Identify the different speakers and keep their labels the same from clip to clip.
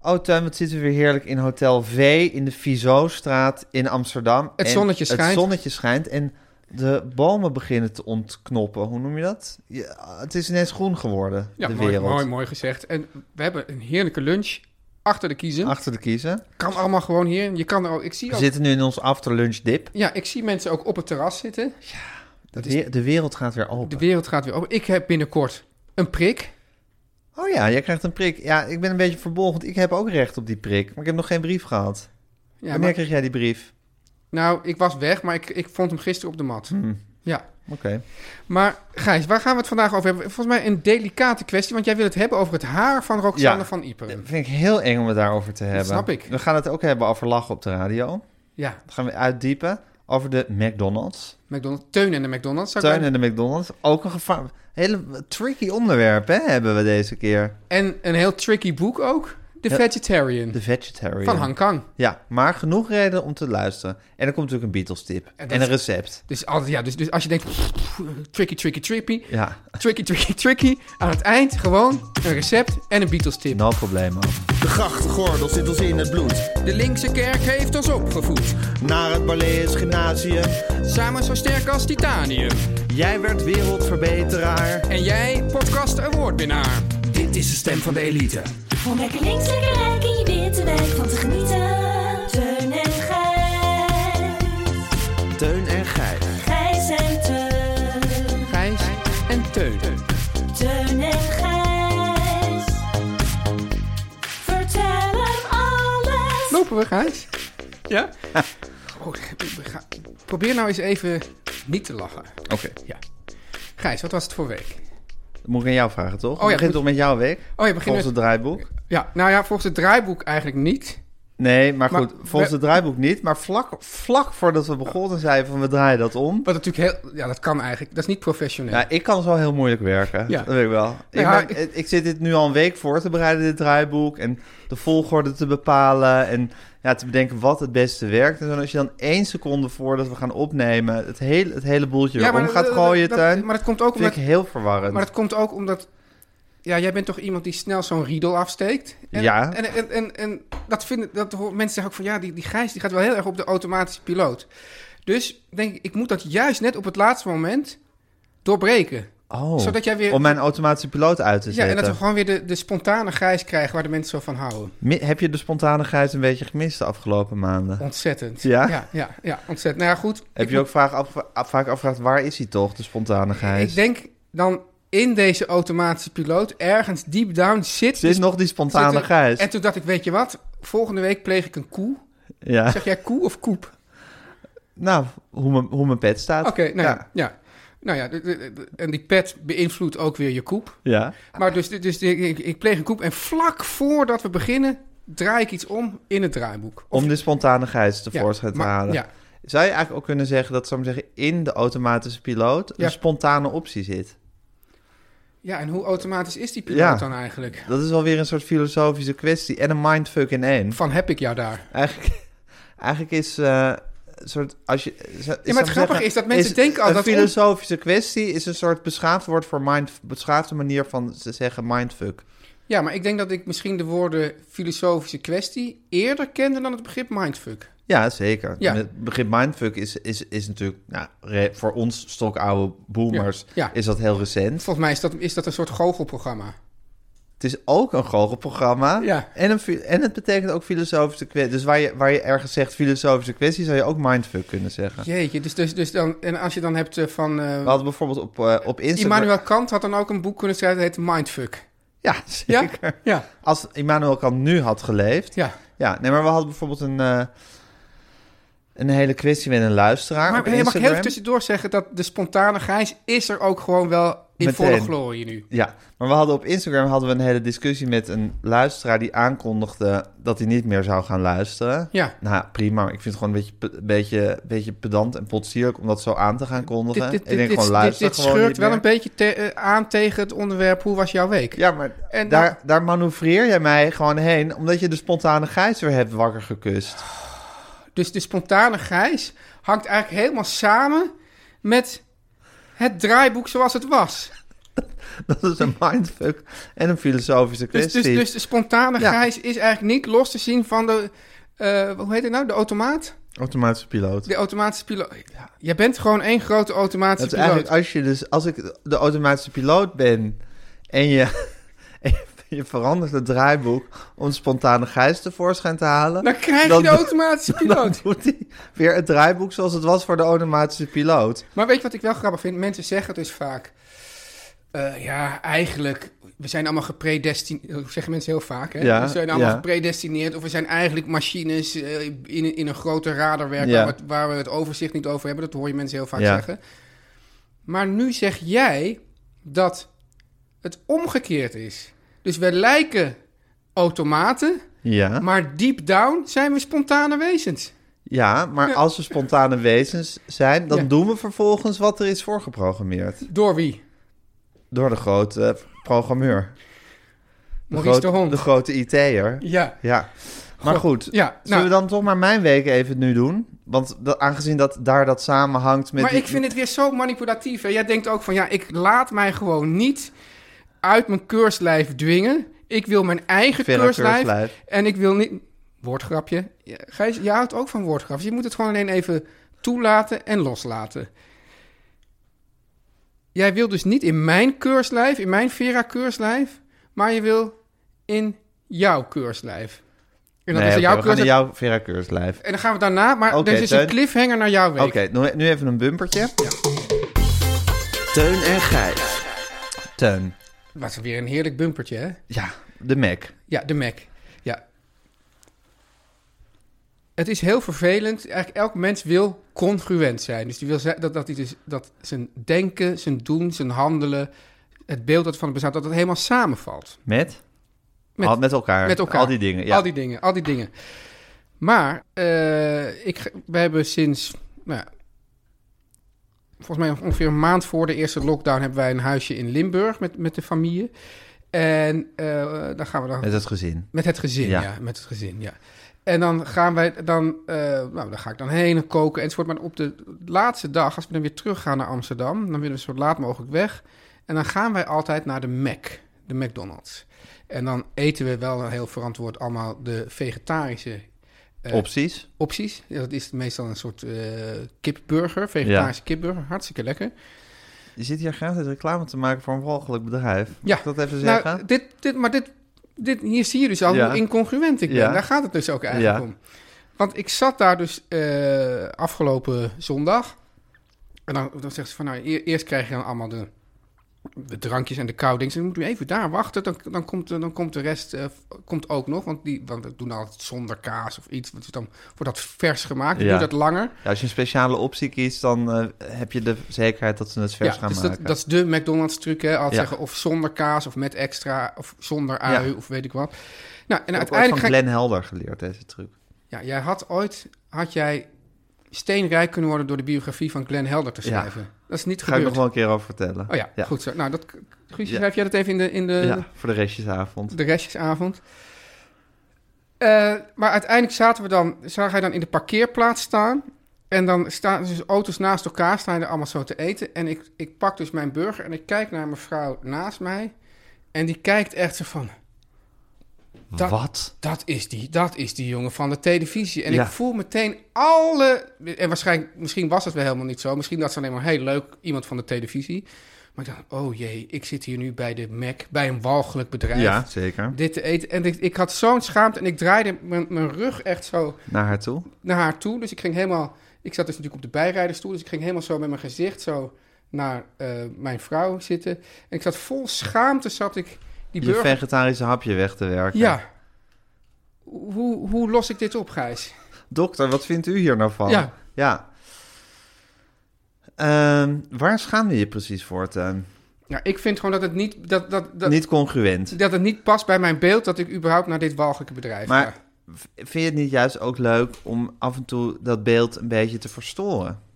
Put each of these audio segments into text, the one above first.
Speaker 1: Oh, Tuin, wat zitten we weer heerlijk in Hotel V in de Vizostraat in Amsterdam.
Speaker 2: Het zonnetje schijnt.
Speaker 1: Het zonnetje schijnt en de bomen beginnen te ontknoppen. Hoe noem je dat? Ja, het is ineens groen geworden,
Speaker 2: Ja,
Speaker 1: de
Speaker 2: mooi,
Speaker 1: wereld.
Speaker 2: mooi, mooi gezegd. En we hebben een heerlijke lunch achter de kiezen.
Speaker 1: Achter de kiezen.
Speaker 2: Kan allemaal gewoon hier. Je kan er ook, ik zie
Speaker 1: We
Speaker 2: ook,
Speaker 1: zitten nu in ons afterlunch dip.
Speaker 2: ja, ik zie mensen ook op het terras zitten.
Speaker 1: De, we- de wereld gaat weer open.
Speaker 2: De wereld gaat weer open. Ik heb binnenkort een prik.
Speaker 1: Oh ja, jij krijgt een prik. Ja, ik ben een beetje verbolgen. want Ik heb ook recht op die prik, maar ik heb nog geen brief gehad.
Speaker 2: Ja,
Speaker 1: Wanneer
Speaker 2: maar-
Speaker 1: kreeg jij die brief?
Speaker 2: nou, ik was weg, maar ik, ik vond hem gisteren op de mat.
Speaker 1: Hmm.
Speaker 2: Ja.
Speaker 1: Oké.
Speaker 2: Maar Gijs, waar gaan we het vandaag over hebben? Volgens mij een delicate kwestie, want jij wil het hebben over het haar van Roxanne
Speaker 1: Ja.
Speaker 2: van
Speaker 1: Dat
Speaker 2: Ieper.
Speaker 1: vind ik heel eng om het daarover te hebben.
Speaker 2: snap ik.
Speaker 1: We gaan het ook hebben over lachen op de radio.
Speaker 2: Ja,
Speaker 1: Dat gaan we uitdiepen over de McDonald's.
Speaker 2: McDonald's. Teun en de McDonald's. zou ik
Speaker 1: Teun en de McDonald's. Ook een gevaar. Hele tricky onderwerp, hè, hebben we deze keer.
Speaker 2: En een heel tricky boek ook. The
Speaker 1: Ja.
Speaker 2: Vegetarian.
Speaker 1: De Vegetarian.
Speaker 2: Van Hang Kang.
Speaker 1: Ja, maar genoeg reden om te luisteren. En er komt natuurlijk een Beatles-tip. En,
Speaker 2: dat
Speaker 1: een
Speaker 2: is-
Speaker 1: recept.
Speaker 2: Dus, altijd, ja, dus, dus als je denkt, tricky, tricky, tricky,
Speaker 1: Ja,
Speaker 2: tricky, tricky, tricky. Aan het eind gewoon een recept en een Beatles tip.
Speaker 1: no probleem.
Speaker 3: De grachtgordel zit ons in het bloed.
Speaker 2: De linkse kerk heeft ons opgevoed.
Speaker 3: Naar het Balees Gymnasium.
Speaker 2: Samen zo sterk als titanium.
Speaker 3: Jij werd wereldverbeteraar.
Speaker 2: En jij, podcast awardwinnaar.
Speaker 3: Dit is de stem van de elite.
Speaker 4: Om lekker links, lekker rijk in je witte wijk van te genieten. Teun en Gijs.
Speaker 3: Teun en Gijs.
Speaker 4: Gijs en Teun.
Speaker 2: Gijs en Teun.
Speaker 4: Teun en Gijs. Vertel hem alles.
Speaker 2: Lopen we, Gijs? Ja? Oh, we gaan- Probeer nou eens even niet te lachen.
Speaker 1: Oké.
Speaker 2: Ja. Gijs, wat was het voor week?
Speaker 1: Dat moet ik aan jou vragen, toch?
Speaker 2: Oh ja,
Speaker 1: begint
Speaker 2: goed.
Speaker 1: toch met jouw week?
Speaker 2: Oh ja, begin
Speaker 1: volgens
Speaker 2: met-
Speaker 1: het draaiboek?
Speaker 2: Ja, nou ja, volgens het draaiboek eigenlijk niet.
Speaker 1: Nee, maar
Speaker 2: Maar
Speaker 1: goed. volgens
Speaker 2: we-
Speaker 1: het draaiboek niet. Maar vlak, vlak voordat we begonnen zeiden van we draaien dat om.
Speaker 2: Wat natuurlijk heel... Ja, dat kan eigenlijk. Dat is niet professioneel.
Speaker 1: Ja, ik kan zo heel moeilijk werken.
Speaker 2: Ja.
Speaker 1: Dat weet ik wel. ik,
Speaker 2: ja,
Speaker 1: ben- ik zit dit nu al een week voor te bereiden, dit draaiboek. En de volgorde te bepalen. En ja, te bedenken wat het beste werkt. En zo, als je dan één seconde voordat we gaan opnemen... het hele, het hele boeltje weer om
Speaker 2: dat-
Speaker 1: gaat
Speaker 2: dat-
Speaker 1: gooien,
Speaker 2: dat-
Speaker 1: Tuin...
Speaker 2: Maar dat komt ook
Speaker 1: vind
Speaker 2: omdat...
Speaker 1: ik heel verwarrend.
Speaker 2: Maar dat komt ook omdat... Ja, jij bent toch iemand die snel zo'n riedel afsteekt? En,
Speaker 1: Ja.
Speaker 2: En, en, en, en dat vinden dat hoor- mensen zeggen ook van... Ja, die, die Gijs die gaat wel heel erg op de automatische piloot. Dus denk ik, ik moet dat juist net op het laatste moment doorbreken.
Speaker 1: oh,
Speaker 2: zodat jij weer-
Speaker 1: om mijn automatische piloot uit te
Speaker 2: Ja,
Speaker 1: zetten.
Speaker 2: en dat we gewoon weer de, de spontane Gijs krijgen waar de mensen zo van houden.
Speaker 1: Mi- Heb je de spontanigheid een beetje gemist de afgelopen maanden?
Speaker 2: Ontzettend.
Speaker 1: Ja?
Speaker 2: Ja, ja, ja, ontzettend. Nou ja, goed.
Speaker 1: Heb je ook vaak, afge- af- vaak afgevraagd, waar is hij toch, de spontanigheid?
Speaker 2: Ik denk dan in deze automatische piloot ergens deep down zit...
Speaker 1: Zit
Speaker 2: die
Speaker 1: nog die spontane
Speaker 2: Zit er-
Speaker 1: gijs?
Speaker 2: En toen dacht ik, weet je wat? Volgende week pleeg ik een koe.
Speaker 1: Ja.
Speaker 2: Zeg jij koe of koep?
Speaker 1: Nou, hoe mijn- hoe mijn pet staat.
Speaker 2: Oké, nou ja. ja. Nou ja, de- de- de- en die pet beïnvloedt ook weer je koep.
Speaker 1: Ja.
Speaker 2: Maar dus, dus ik, ik, ik pleeg een koep en vlak voordat we beginnen draai ik iets om in het draaiboek. Of-
Speaker 1: Om de spontanigheid
Speaker 2: ja,
Speaker 1: tevoorschijn te
Speaker 2: maar-
Speaker 1: halen.
Speaker 2: Ja,
Speaker 1: Zou je eigenlijk ook kunnen zeggen dat, zou ik maar zeggen, in de automatische piloot
Speaker 2: Ja.
Speaker 1: een spontane optie zit?
Speaker 2: ja, en hoe automatisch is die piloot
Speaker 1: Ja.
Speaker 2: dan eigenlijk?
Speaker 1: Dat is alweer een soort filosofische kwestie en een mindfuck in één.
Speaker 2: Van heb ik jou daar?
Speaker 1: Eigenlijk, eigenlijk is eh, soort... Als je,
Speaker 2: Ja, maar het grappige is dat mensen denken al
Speaker 1: een
Speaker 2: dat... on-
Speaker 1: filosofische kwestie is een soort beschaafd woord voor mind... beschaafde manier van ze zeggen mindfuck.
Speaker 2: Ja, maar ik denk dat ik misschien de woorden filosofische kwestie eerder kende dan het begrip mindfuck.
Speaker 1: Ja, zeker.
Speaker 2: Ja.
Speaker 1: Het begrip mindfuck is, is, is natuurlijk... Nou, re- voor ons stokoude boomers
Speaker 2: Ja, ja.
Speaker 1: is dat heel recent.
Speaker 2: Volgens mij is dat, is dat een soort goochelprogramma.
Speaker 1: Het is ook een goochelprogramma.
Speaker 2: Ja.
Speaker 1: En, een, fi- en het betekent ook filosofische kwestie. Dus waar je, waar je ergens zegt filosofische kwestie... zou je ook mindfuck kunnen zeggen.
Speaker 2: Jeetje, dus, dus, dus dan, en als je dan hebt eh, van... eh,
Speaker 1: We hadden bijvoorbeeld op, eh, op Instagram...
Speaker 2: Immanuel Kant had dan ook een boek kunnen schrijven dat heet Mindfuck.
Speaker 1: Ja,
Speaker 2: Ja?
Speaker 1: zeker.
Speaker 2: Ja,
Speaker 1: Als Immanuel Kant nu had geleefd...
Speaker 2: ja.
Speaker 1: Ja, nee, maar we hadden bijvoorbeeld een, eh, een hele kwestie met een luisteraar
Speaker 2: Maar
Speaker 1: op
Speaker 2: hey, mag ik
Speaker 1: Instagram.
Speaker 2: heel tussendoor zeggen dat de spontane Gijs is er ook gewoon wel in
Speaker 1: Meteen.
Speaker 2: volle glorie nu.
Speaker 1: Ja, maar we hadden op Instagram hadden we een hele discussie met een luisteraar die aankondigde dat hij niet meer zou gaan luisteren.
Speaker 2: Ja.
Speaker 1: Nou, prima. maar Ik vind het gewoon een beetje, pe- een beetje, een beetje pedant en potsierlijk om dat zo aan te gaan kondigen.
Speaker 2: Dit, dit,
Speaker 1: ik
Speaker 2: dit,
Speaker 1: denk
Speaker 2: dit,
Speaker 1: gewoon
Speaker 2: dit,
Speaker 1: luister
Speaker 2: dit
Speaker 1: gewoon
Speaker 2: scheurt
Speaker 1: niet
Speaker 2: wel
Speaker 1: meer.
Speaker 2: een beetje te- eh, aan tegen het onderwerp hoe was jouw week?
Speaker 1: Ja, maar
Speaker 2: En
Speaker 1: daar,
Speaker 2: dan-
Speaker 1: daar manoeuvreer jij mij gewoon heen, omdat je de spontane gijs weer hebt wakker gekust.
Speaker 2: Dus de spontane Gijs hangt eigenlijk helemaal samen met het draaiboek zoals het was.
Speaker 1: Dat is een mindfuck en een filosofische
Speaker 2: Dus,
Speaker 1: kwestie.
Speaker 2: dus, dus de spontane
Speaker 1: Ja.
Speaker 2: Gijs is eigenlijk niet los te zien van de, eh, hoe heet het nou, de automaat?
Speaker 1: Automatische piloot.
Speaker 2: De automatische piloot. Ja, jij bent gewoon één grote automatische
Speaker 1: Dat is
Speaker 2: piloot.
Speaker 1: eigenlijk als je dus als ik de automatische piloot ben en je, en je- je verandert het draaiboek om spontane gijs tevoorschijn te halen,
Speaker 2: Dan krijg je
Speaker 1: Dan-
Speaker 2: de automatische
Speaker 1: dan
Speaker 2: piloot.
Speaker 1: doet hij weer het draaiboek zoals het was voor de automatische piloot.
Speaker 2: Maar weet je wat ik wel grappig vind? Mensen zeggen dus vaak... eh, ja, eigenlijk, we zijn allemaal gepredestineerd. Dat zeggen mensen heel vaak, hè?
Speaker 1: Ja,
Speaker 2: we zijn allemaal
Speaker 1: ja.
Speaker 2: gepredestineerd. Of we zijn eigenlijk machines eh, in, een- in een grote radarwerk...
Speaker 1: Ja.
Speaker 2: Waar, we, het- waar we het overzicht niet over hebben. Dat hoor je mensen heel vaak
Speaker 1: Ja.
Speaker 2: zeggen. Maar nu zeg jij dat het omgekeerd is. Dus we lijken automaten...
Speaker 1: Ja,
Speaker 2: maar deep down zijn we spontane wezens.
Speaker 1: ja maar als we spontane wezens zijn, dan
Speaker 2: Ja.
Speaker 1: doen we vervolgens wat er is voorgeprogrammeerd
Speaker 2: Door wie?
Speaker 1: door de grote programmeur.
Speaker 2: Maurice
Speaker 1: grote-
Speaker 2: de Hond.
Speaker 1: De grote IT'er.
Speaker 2: Ja.
Speaker 1: Ja, maar goed.
Speaker 2: Ja, nou-
Speaker 1: Zullen we dan toch maar mijn week even nu doen? Want dat, aangezien dat daar dat samenhangt met...
Speaker 2: Maar
Speaker 1: die-
Speaker 2: ik vind het weer zo manipulatief. Hè? Jij denkt ook van ja, ik laat mij gewoon niet uit mijn keurslijf dwingen. Ik wil mijn eigen
Speaker 1: Verre
Speaker 2: keurslijf,
Speaker 1: keurslijf.
Speaker 2: En ik wil niet. Woordgrapje. Ja, Gijs, jij houdt ook van woordgrapjes. Je moet het gewoon alleen even toelaten en loslaten. Jij wil dus niet in mijn keurslijf, in mijn Vera-keurslijf, maar je wil in jouw keurslijf. En
Speaker 1: Nee,
Speaker 2: dan is er
Speaker 1: oké,
Speaker 2: jouw
Speaker 1: we gaan naar
Speaker 2: keurslijf.
Speaker 1: jouw Vera Keurslijf.
Speaker 2: En dan gaan we daarna, maar
Speaker 1: Oké,
Speaker 2: dit is een
Speaker 1: Teun.
Speaker 2: cliffhanger naar jouw week.
Speaker 1: Oké, nu, nu even een bumpertje.
Speaker 3: Teun en Gijs.
Speaker 1: Teun.
Speaker 2: Wat weer een heerlijk bumpertje, hè?
Speaker 1: Ja, de Mac.
Speaker 2: Ja, de Mac. Ja. Het is heel vervelend. Eigenlijk elk mens wil congruent zijn. Dus die wil ze- dat, dat, hij dus, dat zijn denken, zijn doen, zijn handelen, het beeld dat van het bestaat, dat het helemaal samenvalt.
Speaker 1: Met?
Speaker 2: Met-
Speaker 1: Met, met elkaar.
Speaker 2: Met elkaar.
Speaker 1: Al die dingen, ja.
Speaker 2: Al die dingen, al die dingen. Maar eh, ik, ge- we hebben sinds, nou, ja, volgens mij ongeveer een maand voor de eerste lockdown, hebben wij een huisje in Limburg met, met de familie. En eh dan gaan we dan
Speaker 1: Met het gezin.
Speaker 2: met het gezin, ja.
Speaker 1: Ja.
Speaker 2: Met het gezin, ja. En dan gaan wij, dan, eh, nou, dan ga ik dan heen en koken enzovoort. Maar op de laatste dag, als we dan weer teruggaan naar Amsterdam, dan willen we zo laat mogelijk weg. En dan gaan wij altijd naar de Mac, de McDonald's. En dan eten we wel heel verantwoord allemaal de vegetarische eh,
Speaker 1: Opties.
Speaker 2: opties. Ja, dat is meestal een soort eh, kipburger, vegetarische kipburger. Hartstikke lekker.
Speaker 1: Je zit hier graag reclame te maken voor een walgelijk bedrijf. Mag
Speaker 2: Ja.
Speaker 1: ik dat even zeggen?
Speaker 2: Nou, dit, dit, maar dit, dit, hier zie je dus al
Speaker 1: Ja.
Speaker 2: hoe incongruent ik ben.
Speaker 1: Ja.
Speaker 2: Daar gaat het dus ook eigenlijk
Speaker 1: Ja.
Speaker 2: om. Want ik zat daar dus eh, afgelopen zondag. En dan, dan zegt ze van, nou, e- eerst krijg je dan allemaal de, de drankjes en de koude dingen. Dan moet u even daar wachten, dan, dan, komt, eh, dan komt de rest eh, komt ook nog. Want, die, want we doen altijd zonder kaas of iets. Want dan wordt dat vers gemaakt, dan
Speaker 1: Ja.
Speaker 2: duurt dat langer.
Speaker 1: Ja, als je een speciale optie kiest, dan eh, heb je de zekerheid dat ze het vers gaan
Speaker 2: dus
Speaker 1: maken.
Speaker 2: Dat, dat is de McDonald's truc, hè? Altijd
Speaker 1: Ja.
Speaker 2: zeggen of zonder kaas of met extra of zonder ui
Speaker 1: Ja.
Speaker 2: of weet ik wat. Nou, en
Speaker 1: Ik heb ooit
Speaker 2: uiteindelijk
Speaker 1: van
Speaker 2: ga ik-
Speaker 1: Glenn Helder geleerd, deze truc.
Speaker 2: Ja, jij had ooit, had jij steenrijk kunnen worden door de biografie van Glenn Helder te schrijven. Dat is niet
Speaker 1: Daar ga ik nog wel
Speaker 2: gebeurd.
Speaker 1: een keer over vertellen.
Speaker 2: Oh ja,
Speaker 1: ja.
Speaker 2: goed zo. Nou, dat, Guusje,
Speaker 1: Ja.
Speaker 2: schrijf jij dat even in de, in de,
Speaker 1: Ja, voor de restjesavond.
Speaker 2: de restjesavond. Eh, maar uiteindelijk zaten we dan, zag hij dan in de parkeerplaats staan. En dan staan dus auto's naast elkaar, staan er allemaal zo te eten. En ik, ik pak dus mijn burger en ik kijk naar mijn vrouw naast mij. En die kijkt echt zo van... Dat,
Speaker 1: Wat?
Speaker 2: Dat is, die, dat is die jongen van de televisie. En
Speaker 1: Ja.
Speaker 2: ik voel meteen alle... En waarschijnlijk, misschien was het wel helemaal niet zo. Misschien dat ze alleen maar heel leuk iemand van de televisie. Maar ik dacht, oh jee, ik zit hier nu bij de Mac, bij een walgelijk bedrijf.
Speaker 1: Ja, zeker.
Speaker 2: Dit te eten. En ik, ik had zo'n schaamte en ik draaide mijn, mijn rug echt zo
Speaker 1: Naar haar toe.
Speaker 2: naar haar toe. Dus ik ging helemaal. Ik zat dus natuurlijk op de bijrijderstoel. Dus ik ging helemaal zo met mijn gezicht zo naar eh, mijn vrouw zitten. En ik zat vol schaamte zat ik die
Speaker 1: Je
Speaker 2: burger.
Speaker 1: vegetarische hapje weg te werken.
Speaker 2: Ja. Hoe, hoe los ik dit op, Gijs?
Speaker 1: Dokter, wat vindt u hier nou van?
Speaker 2: Ja.
Speaker 1: Ja. Ehm, waar schaam je je precies voor, Teun?
Speaker 2: Ja, ik vind gewoon dat het niet, dat, dat, dat,
Speaker 1: Niet congruent.
Speaker 2: dat het niet past bij mijn beeld dat ik überhaupt naar dit walgelijke bedrijf
Speaker 1: Maar
Speaker 2: ga.
Speaker 1: v- vind je het niet juist ook leuk om af en toe dat beeld een beetje te verstoren?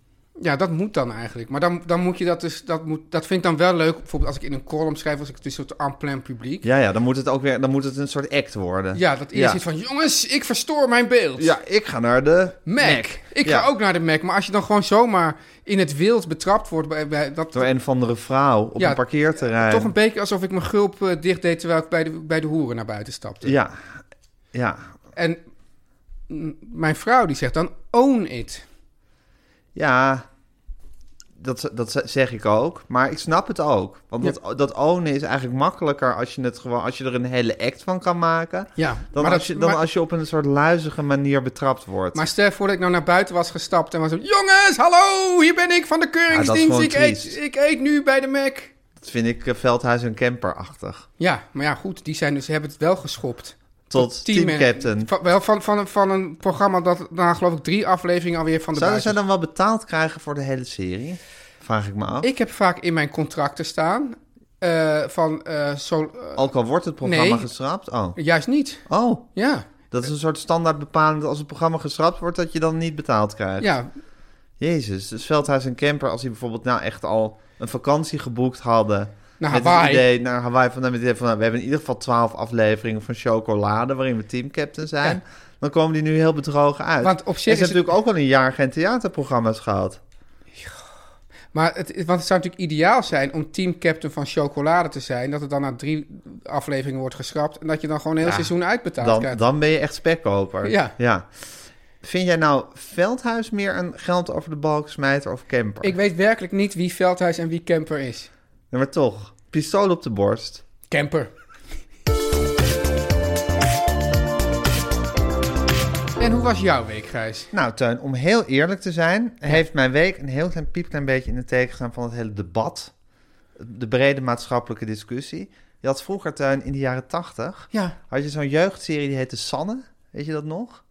Speaker 2: Ja, dat moet dan eigenlijk. Maar dan, dan moet je dat dus, dat, moet, dat vind ik dan wel leuk. Bijvoorbeeld als ik in een column schrijf, als ik het een soort en plein publiek.
Speaker 1: Ja, ja, dan moet het ook weer, dan moet het een soort act worden.
Speaker 2: Ja, dat eerst iets van, jongens, ik verstoor mijn beeld.
Speaker 1: Ja, ik ga naar de
Speaker 2: Mac. Ik
Speaker 1: Ja.
Speaker 2: ga ook naar de Mac. Maar als je dan gewoon zomaar in het wild betrapt wordt... Bij, bij, dat,
Speaker 1: Door een of andere vrouw op
Speaker 2: Ja,
Speaker 1: een parkeerterrein.
Speaker 2: toch een beetje alsof ik mijn gulp eh, dicht deed... terwijl ik bij de, bij de hoeren naar buiten stapte.
Speaker 1: Ja, ja.
Speaker 2: En mm, mijn vrouw die zegt dan, own it.
Speaker 1: Ja, dat, dat zeg ik ook. Maar ik snap het ook. Want
Speaker 2: Ja.
Speaker 1: dat, dat ownen is eigenlijk makkelijker als je, het gewoon, als je er een hele act van kan maken.
Speaker 2: Ja,
Speaker 1: Dan,
Speaker 2: maar,
Speaker 1: als,
Speaker 2: dat-
Speaker 1: je, dan
Speaker 2: maar,
Speaker 1: als je op een soort luizige manier betrapt wordt.
Speaker 2: maar stel je voor dat ik nou naar buiten was gestapt en was zo... Jongens, hallo, hier ben ik van de keuringsdienst.
Speaker 1: gewoon
Speaker 2: ik, eet,
Speaker 1: triest.
Speaker 2: ik eet nu bij de Mac.
Speaker 1: dat vind ik eh, Veldhuis en Kemper-achtig.
Speaker 2: Ja, maar ja, goed, die zijn dus, hebben het wel geschopt.
Speaker 1: Tot teamcaptain.
Speaker 2: Van, wel van, van, een- van een programma dat na geloof ik drie afleveringen alweer van de
Speaker 1: Zouden
Speaker 2: buis
Speaker 1: zij dan wel betaald krijgen voor de hele serie? Vraag ik me af.
Speaker 2: Ik heb vaak in mijn contracten staan eh, van eh, zo, eh,
Speaker 1: Ook al wordt het programma
Speaker 2: Nee.
Speaker 1: geschrapt. Oh.
Speaker 2: juist niet.
Speaker 1: oh,
Speaker 2: Ja,
Speaker 1: dat is een soort standaard bepalend als het programma geschrapt wordt, dat je dan niet betaald krijgt.
Speaker 2: ja,
Speaker 1: Jezus, dus Veldhuis en Kemper, als die bijvoorbeeld nou echt al een vakantie geboekt hadden.
Speaker 2: naar
Speaker 1: met
Speaker 2: Hawaii.
Speaker 1: het idee naar Hawaii van, met het idee van nou, we hebben in ieder geval twaalf afleveringen van chocolade waarin we teamcaptain zijn. Dan komen die nu heel bedrogen uit.
Speaker 2: Want op
Speaker 1: En
Speaker 2: zich
Speaker 1: ze
Speaker 2: is
Speaker 1: hebben
Speaker 2: het-
Speaker 1: natuurlijk ook al een jaar geen theaterprogramma's gehad.
Speaker 2: Maar het, want het zou natuurlijk ideaal zijn om teamcaptain van chocolade te zijn. Dat het dan na drie afleveringen wordt geschrapt. En dat je dan gewoon een heel seizoen uitbetaald
Speaker 1: Dan,
Speaker 2: krijgt.
Speaker 1: dan ben je echt spekkoper.
Speaker 2: Ja.
Speaker 1: Vind jij nou Veldhuis meer een geld over de balk smijter of Kemper?
Speaker 2: Ik weet werkelijk niet wie Veldhuis en wie Kemper is.
Speaker 1: Ja, maar toch, pistool op de borst.
Speaker 2: Kemper. En hoe was jouw week, Gijs?
Speaker 1: Nou, Teun, om heel eerlijk te zijn, heeft mijn week een heel klein piepklein beetje in het teken gestaan van het hele debat. De brede maatschappelijke discussie. Je had vroeger, Teun, in de jaren tachtig,
Speaker 2: Ja.
Speaker 1: had je zo'n jeugdserie die heette Sanne. Weet je dat nog?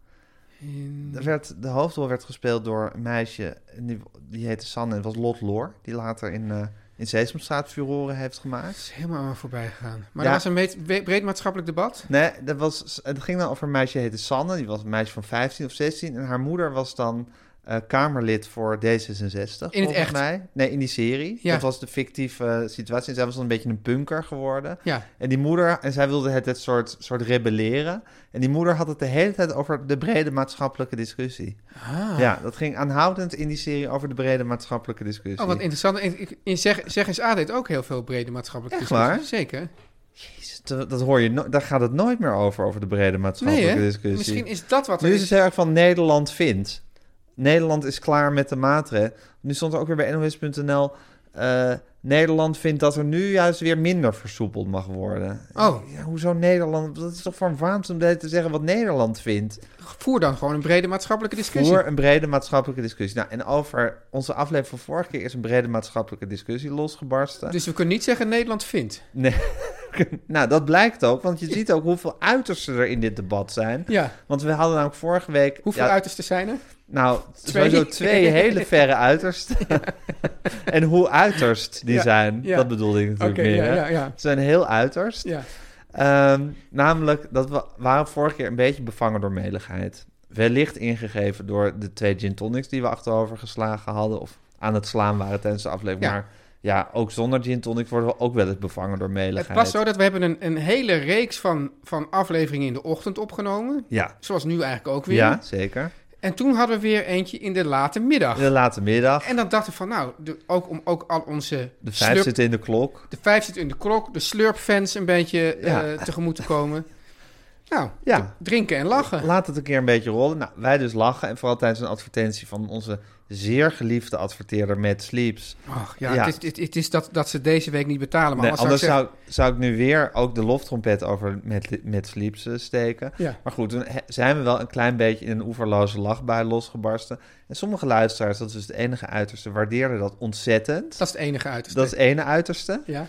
Speaker 1: Er werd, de hoofdrol werd gespeeld door een meisje, en die, die heette Sanne en het was Lot Loor. Die later in, eh in Sesamstraat furoren heeft gemaakt.
Speaker 2: Het is helemaal aan me voorbij gegaan. Maar
Speaker 1: Ja.
Speaker 2: er was een meet- we- breed maatschappelijk debat.
Speaker 1: Nee, dat was, het ging dan over een meisje die heette Sanne. Die was een meisje van 15 of 16. En haar moeder was dan eh, kamerlid voor D66. volgens
Speaker 2: echt?
Speaker 1: Mij. Nee, in die serie.
Speaker 2: Ja.
Speaker 1: Dat was de fictieve eh, situatie. En zij was dan een beetje een punker geworden.
Speaker 2: Ja.
Speaker 1: En die moeder, en zij wilde het, het soort, soort rebelleren. En die moeder had het de hele tijd over de brede maatschappelijke discussie. Ja, dat ging aanhoudend in die serie over de brede maatschappelijke discussie.
Speaker 2: Ah. Oh, wat interessant. In, in- in zeg, zeg eens A deed ook heel veel brede maatschappelijke
Speaker 1: Echt
Speaker 2: discussies.
Speaker 1: waar?
Speaker 2: Zeker.
Speaker 1: Jezus, dat dat hoor je, no- daar gaat het nooit meer over, over de brede
Speaker 2: Nee,
Speaker 1: maatschappelijke
Speaker 2: hè?
Speaker 1: discussie.
Speaker 2: Misschien is dat wat er
Speaker 1: Nu is
Speaker 2: is.
Speaker 1: het heel erg van Nederland vindt. Nederland is klaar met de maatregelen. Nu stond er ook weer bij NOS.nl... eh, Nederland vindt dat er nu juist weer minder versoepeld mag worden.
Speaker 2: Oh.
Speaker 1: Ja, hoezo Nederland? Dat is toch voor een waanzin om de hele tijd te zeggen wat Nederland vindt.
Speaker 2: Voer dan gewoon een brede maatschappelijke discussie.
Speaker 1: Voor een brede maatschappelijke discussie. Nou, en over onze aflevering van vorige keer is een brede maatschappelijke discussie losgebarsten.
Speaker 2: Dus we kunnen niet zeggen Nederland vindt.
Speaker 1: Nee. nou, dat blijkt ook, want je ziet ook hoeveel uitersten er in dit debat zijn.
Speaker 2: Ja.
Speaker 1: Want we hadden namelijk vorige week...
Speaker 2: Hoeveel
Speaker 1: ja,
Speaker 2: uitersten zijn er?
Speaker 1: Nou,
Speaker 2: Twee.
Speaker 1: sowieso twee hele verre uitersten. en hoe uiterst die
Speaker 2: Ja,
Speaker 1: zijn,
Speaker 2: ja.
Speaker 1: dat bedoelde ik natuurlijk meer.
Speaker 2: ja,
Speaker 1: hè?
Speaker 2: ja, ja.
Speaker 1: Ze zijn heel uiterst.
Speaker 2: Ja.
Speaker 1: Ehm, namelijk, dat we waren vorige keer een beetje bevangen door meligheid. Wellicht ingegeven door de twee gin tonics die we achterover geslagen hadden... of aan het slaan waren tijdens de aflevering.
Speaker 2: Ja.
Speaker 1: Maar ja, ook zonder gin tonic worden we ook wel eens bevangen door meligheid.
Speaker 2: Het was zo dat we hebben een, een hele reeks van, van afleveringen in de ochtend opgenomen.
Speaker 1: Ja,
Speaker 2: Zoals nu eigenlijk ook weer.
Speaker 1: ja zeker.
Speaker 2: En toen hadden we weer eentje in de late middag.
Speaker 1: De late middag.
Speaker 2: En dan dachten we van, nou, de- ook om ook al onze
Speaker 1: De vijf
Speaker 2: slurp-
Speaker 1: zit in de klok.
Speaker 2: de vijf zit in de klok, de slurpfans een beetje eh,
Speaker 1: Ja.
Speaker 2: tegemoet te komen. Nou,
Speaker 1: Ja.
Speaker 2: d- drinken en lachen.
Speaker 1: Laat het een keer een beetje rollen. Nou, wij dus lachen. En vooral tijdens een advertentie van onze zeer geliefde adverteerder Matt Sleeps.
Speaker 2: Ach, ja,
Speaker 1: Ja.
Speaker 2: Het is, het, het is dat, dat ze deze week niet betalen. Maar
Speaker 1: Nee,
Speaker 2: anders
Speaker 1: anders
Speaker 2: zou ik
Speaker 1: zou, zou ik nu weer ook de loftrompet over met, met Sleeps eh, steken.
Speaker 2: zeggen-
Speaker 1: Maar goed, toen he- zijn we wel een klein beetje in een oeverloze lachbui losgebarsten. En sommige luisteraars, dat is dus het enige uiterste, waardeerden dat ontzettend.
Speaker 2: ja, dat is het enige uiterste.
Speaker 1: Dat is het ene uiterste.
Speaker 2: ja.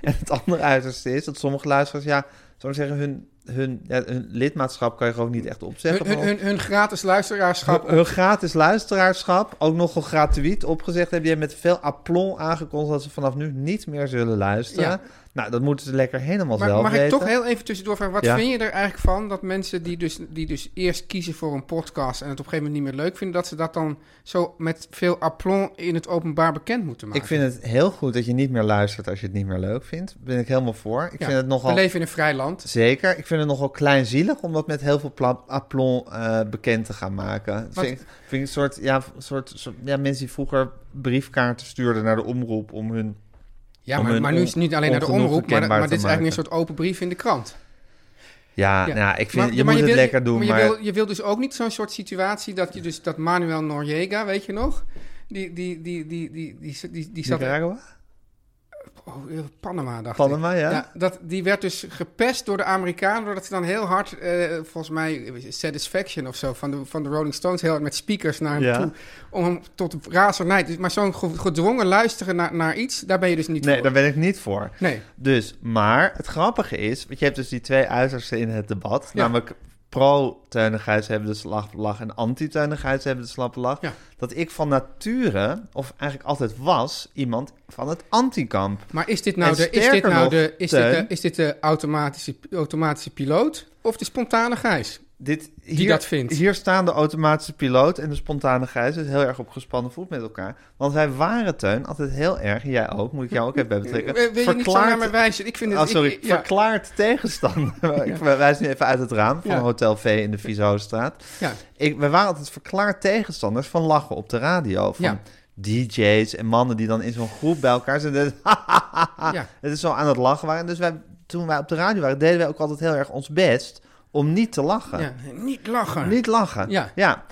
Speaker 1: En het andere uiterste is dat sommige luisteraars, ja, zou ik zeggen, hun, hun, ja, hun lidmaatschap kan je gewoon niet echt opzeggen.
Speaker 2: hun, hun,
Speaker 1: van
Speaker 2: hun, hun gratis luisteraarschap.
Speaker 1: hun gratis luisteraarschap, ook nogal gratuit opgezegd, hebben je met veel aplomb aangekondigd dat ze vanaf nu niet meer zullen luisteren.
Speaker 2: Ja.
Speaker 1: Nou, dat moeten ze lekker helemaal
Speaker 2: maar
Speaker 1: zelf
Speaker 2: mag ik
Speaker 1: weten.
Speaker 2: toch heel even tussendoor vragen, wat
Speaker 1: Ja.
Speaker 2: vind je er eigenlijk van dat mensen die dus, die dus eerst kiezen voor een podcast en het op een gegeven moment niet meer leuk vinden, dat ze dat dan zo met veel aplomb in het openbaar bekend moeten maken?
Speaker 1: Ik vind het heel goed dat je niet meer luistert als je het niet meer leuk vindt. Daar ben ik helemaal voor. Ik
Speaker 2: Ja,
Speaker 1: vind het nogal...
Speaker 2: We leven in een vrij land.
Speaker 1: Zeker. Ik vind het nogal kleinzielig om dat met heel veel pla- aplomb eh, bekend te gaan maken. Dat Vind, ik- vind ik een soort, ja, soort, soort ja, mensen die vroeger briefkaarten stuurden naar de omroep om hun...
Speaker 2: Ja,
Speaker 1: om
Speaker 2: maar,
Speaker 1: hun
Speaker 2: maar nu is het niet alleen naar de
Speaker 1: ongenoegen
Speaker 2: omroep, maar,
Speaker 1: kenbaar
Speaker 2: maar
Speaker 1: te
Speaker 2: dit is eigenlijk meer een
Speaker 1: maken.
Speaker 2: soort open brief in de krant.
Speaker 1: Ja,
Speaker 2: Ja.
Speaker 1: Nou, ik vind,
Speaker 2: Maar-
Speaker 1: je
Speaker 2: maar
Speaker 1: moet het
Speaker 2: wil-
Speaker 1: lekker doen, maar...
Speaker 2: je, wil, je wil dus ook niet zo'n soort situatie dat je dus dat Manuel Noriega, weet je nog? Die, die, die, die, die, die, die, die, zat
Speaker 1: Nicaragua?
Speaker 2: oh, eh, Panama, dacht ik.
Speaker 1: Panama, ja?
Speaker 2: Ja, dat, die werd dus gepest door de Amerikanen, doordat ze dan heel hard, eh, volgens mij, eh, Satisfaction of zo, van de, van de Rolling Stones, heel hard met speakers naar hem
Speaker 1: Ja.
Speaker 2: toe, om hem tot razernij. Dus, maar zo'n ge- gedwongen luisteren naar, naar iets, daar ben je dus niet
Speaker 1: Nee,
Speaker 2: voor.
Speaker 1: daar ben ik niet voor.
Speaker 2: Nee,
Speaker 1: Dus, maar het grappige is, want je hebt dus die twee uitersten in het debat.
Speaker 2: Ja.
Speaker 1: Namelijk pro-teunigheids hebben de slappe lach en anti-teunigheids hebben de slappe lach.
Speaker 2: Ja.
Speaker 1: Dat ik van nature, of eigenlijk altijd was, iemand van het antikamp.
Speaker 2: maar is dit nou,
Speaker 1: En
Speaker 2: de, is dit
Speaker 1: sterker
Speaker 2: nou
Speaker 1: nog,
Speaker 2: de, is dit de,
Speaker 1: Teun-
Speaker 2: is dit de automatische, automatische piloot of de spontane Gijs?
Speaker 1: Dit, hier,
Speaker 2: dat vindt.
Speaker 1: Hier staan de automatische piloot en de spontane gijs dus heel erg op gespannen voet met elkaar. Want wij waren, Teun, altijd heel erg, en jij ook, moet ik jou ook even bij betrekken.
Speaker 2: Eh, Wil wil je niet zo
Speaker 1: verklaard-
Speaker 2: naar me wijzen? Ik vind het...
Speaker 1: Oh, sorry.
Speaker 2: ik- ja,
Speaker 1: Verklaard tegenstander. ik wijs nu even uit het raam van
Speaker 2: Ja.
Speaker 1: Hotel V in de Vieshoofdstraat.
Speaker 2: ja.
Speaker 1: Ik, we waren altijd verklaard tegenstanders van lachen op de radio. Van
Speaker 2: Ja.
Speaker 1: DJ's en mannen die dan in zo'n groep bij elkaar zitten.
Speaker 2: Ja.
Speaker 1: Het is zo aan het lachen waren. Dus wij, toen wij op de radio waren, deden wij ook altijd heel erg ons best om niet te lachen.
Speaker 2: ja, niet lachen.
Speaker 1: Niet lachen.
Speaker 2: Ja.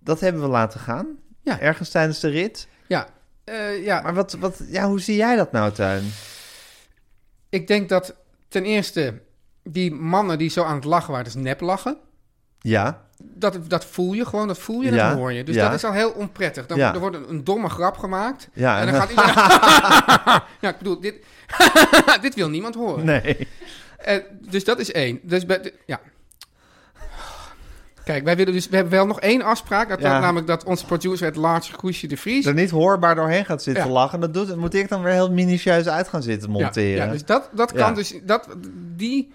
Speaker 1: Dat hebben we laten gaan.
Speaker 2: Ja.
Speaker 1: Ergens tijdens de rit.
Speaker 2: Ja, eh, ja.
Speaker 1: Maar wat, wat, ja, hoe zie jij dat nou, Tuin?
Speaker 2: Ik denk dat ten eerste die mannen die zo aan het lachen waren, dus nep lachen.
Speaker 1: Ja.
Speaker 2: Dat, dat voel je gewoon, dat voel je en
Speaker 1: Ja,
Speaker 2: dat hoor je. Dus
Speaker 1: ja.
Speaker 2: dat is al heel onprettig. Dan,
Speaker 1: Ja.
Speaker 2: Er wordt een, een domme grap gemaakt.
Speaker 1: Ja,
Speaker 2: en
Speaker 1: en
Speaker 2: dan
Speaker 1: dan-
Speaker 2: gaat iedereen... ja, ik bedoel, dit, dit wil niemand horen.
Speaker 1: Nee.
Speaker 2: Eh, dus dat is één. Dus bij, de- ja. Kijk, wij willen dus, we hebben wel nog één afspraak. Dat
Speaker 1: Ja.
Speaker 2: dat namelijk dat onze producer, het Lars Koesje de Vries...
Speaker 1: er niet hoorbaar doorheen gaat zitten
Speaker 2: Ja.
Speaker 1: lachen. Dat, doet, dat moet ik dan weer heel minutieus uit gaan zitten
Speaker 2: Ja,
Speaker 1: monteren.
Speaker 2: Ja, dus dat, dat kan
Speaker 1: Ja.
Speaker 2: dus... Dat, die,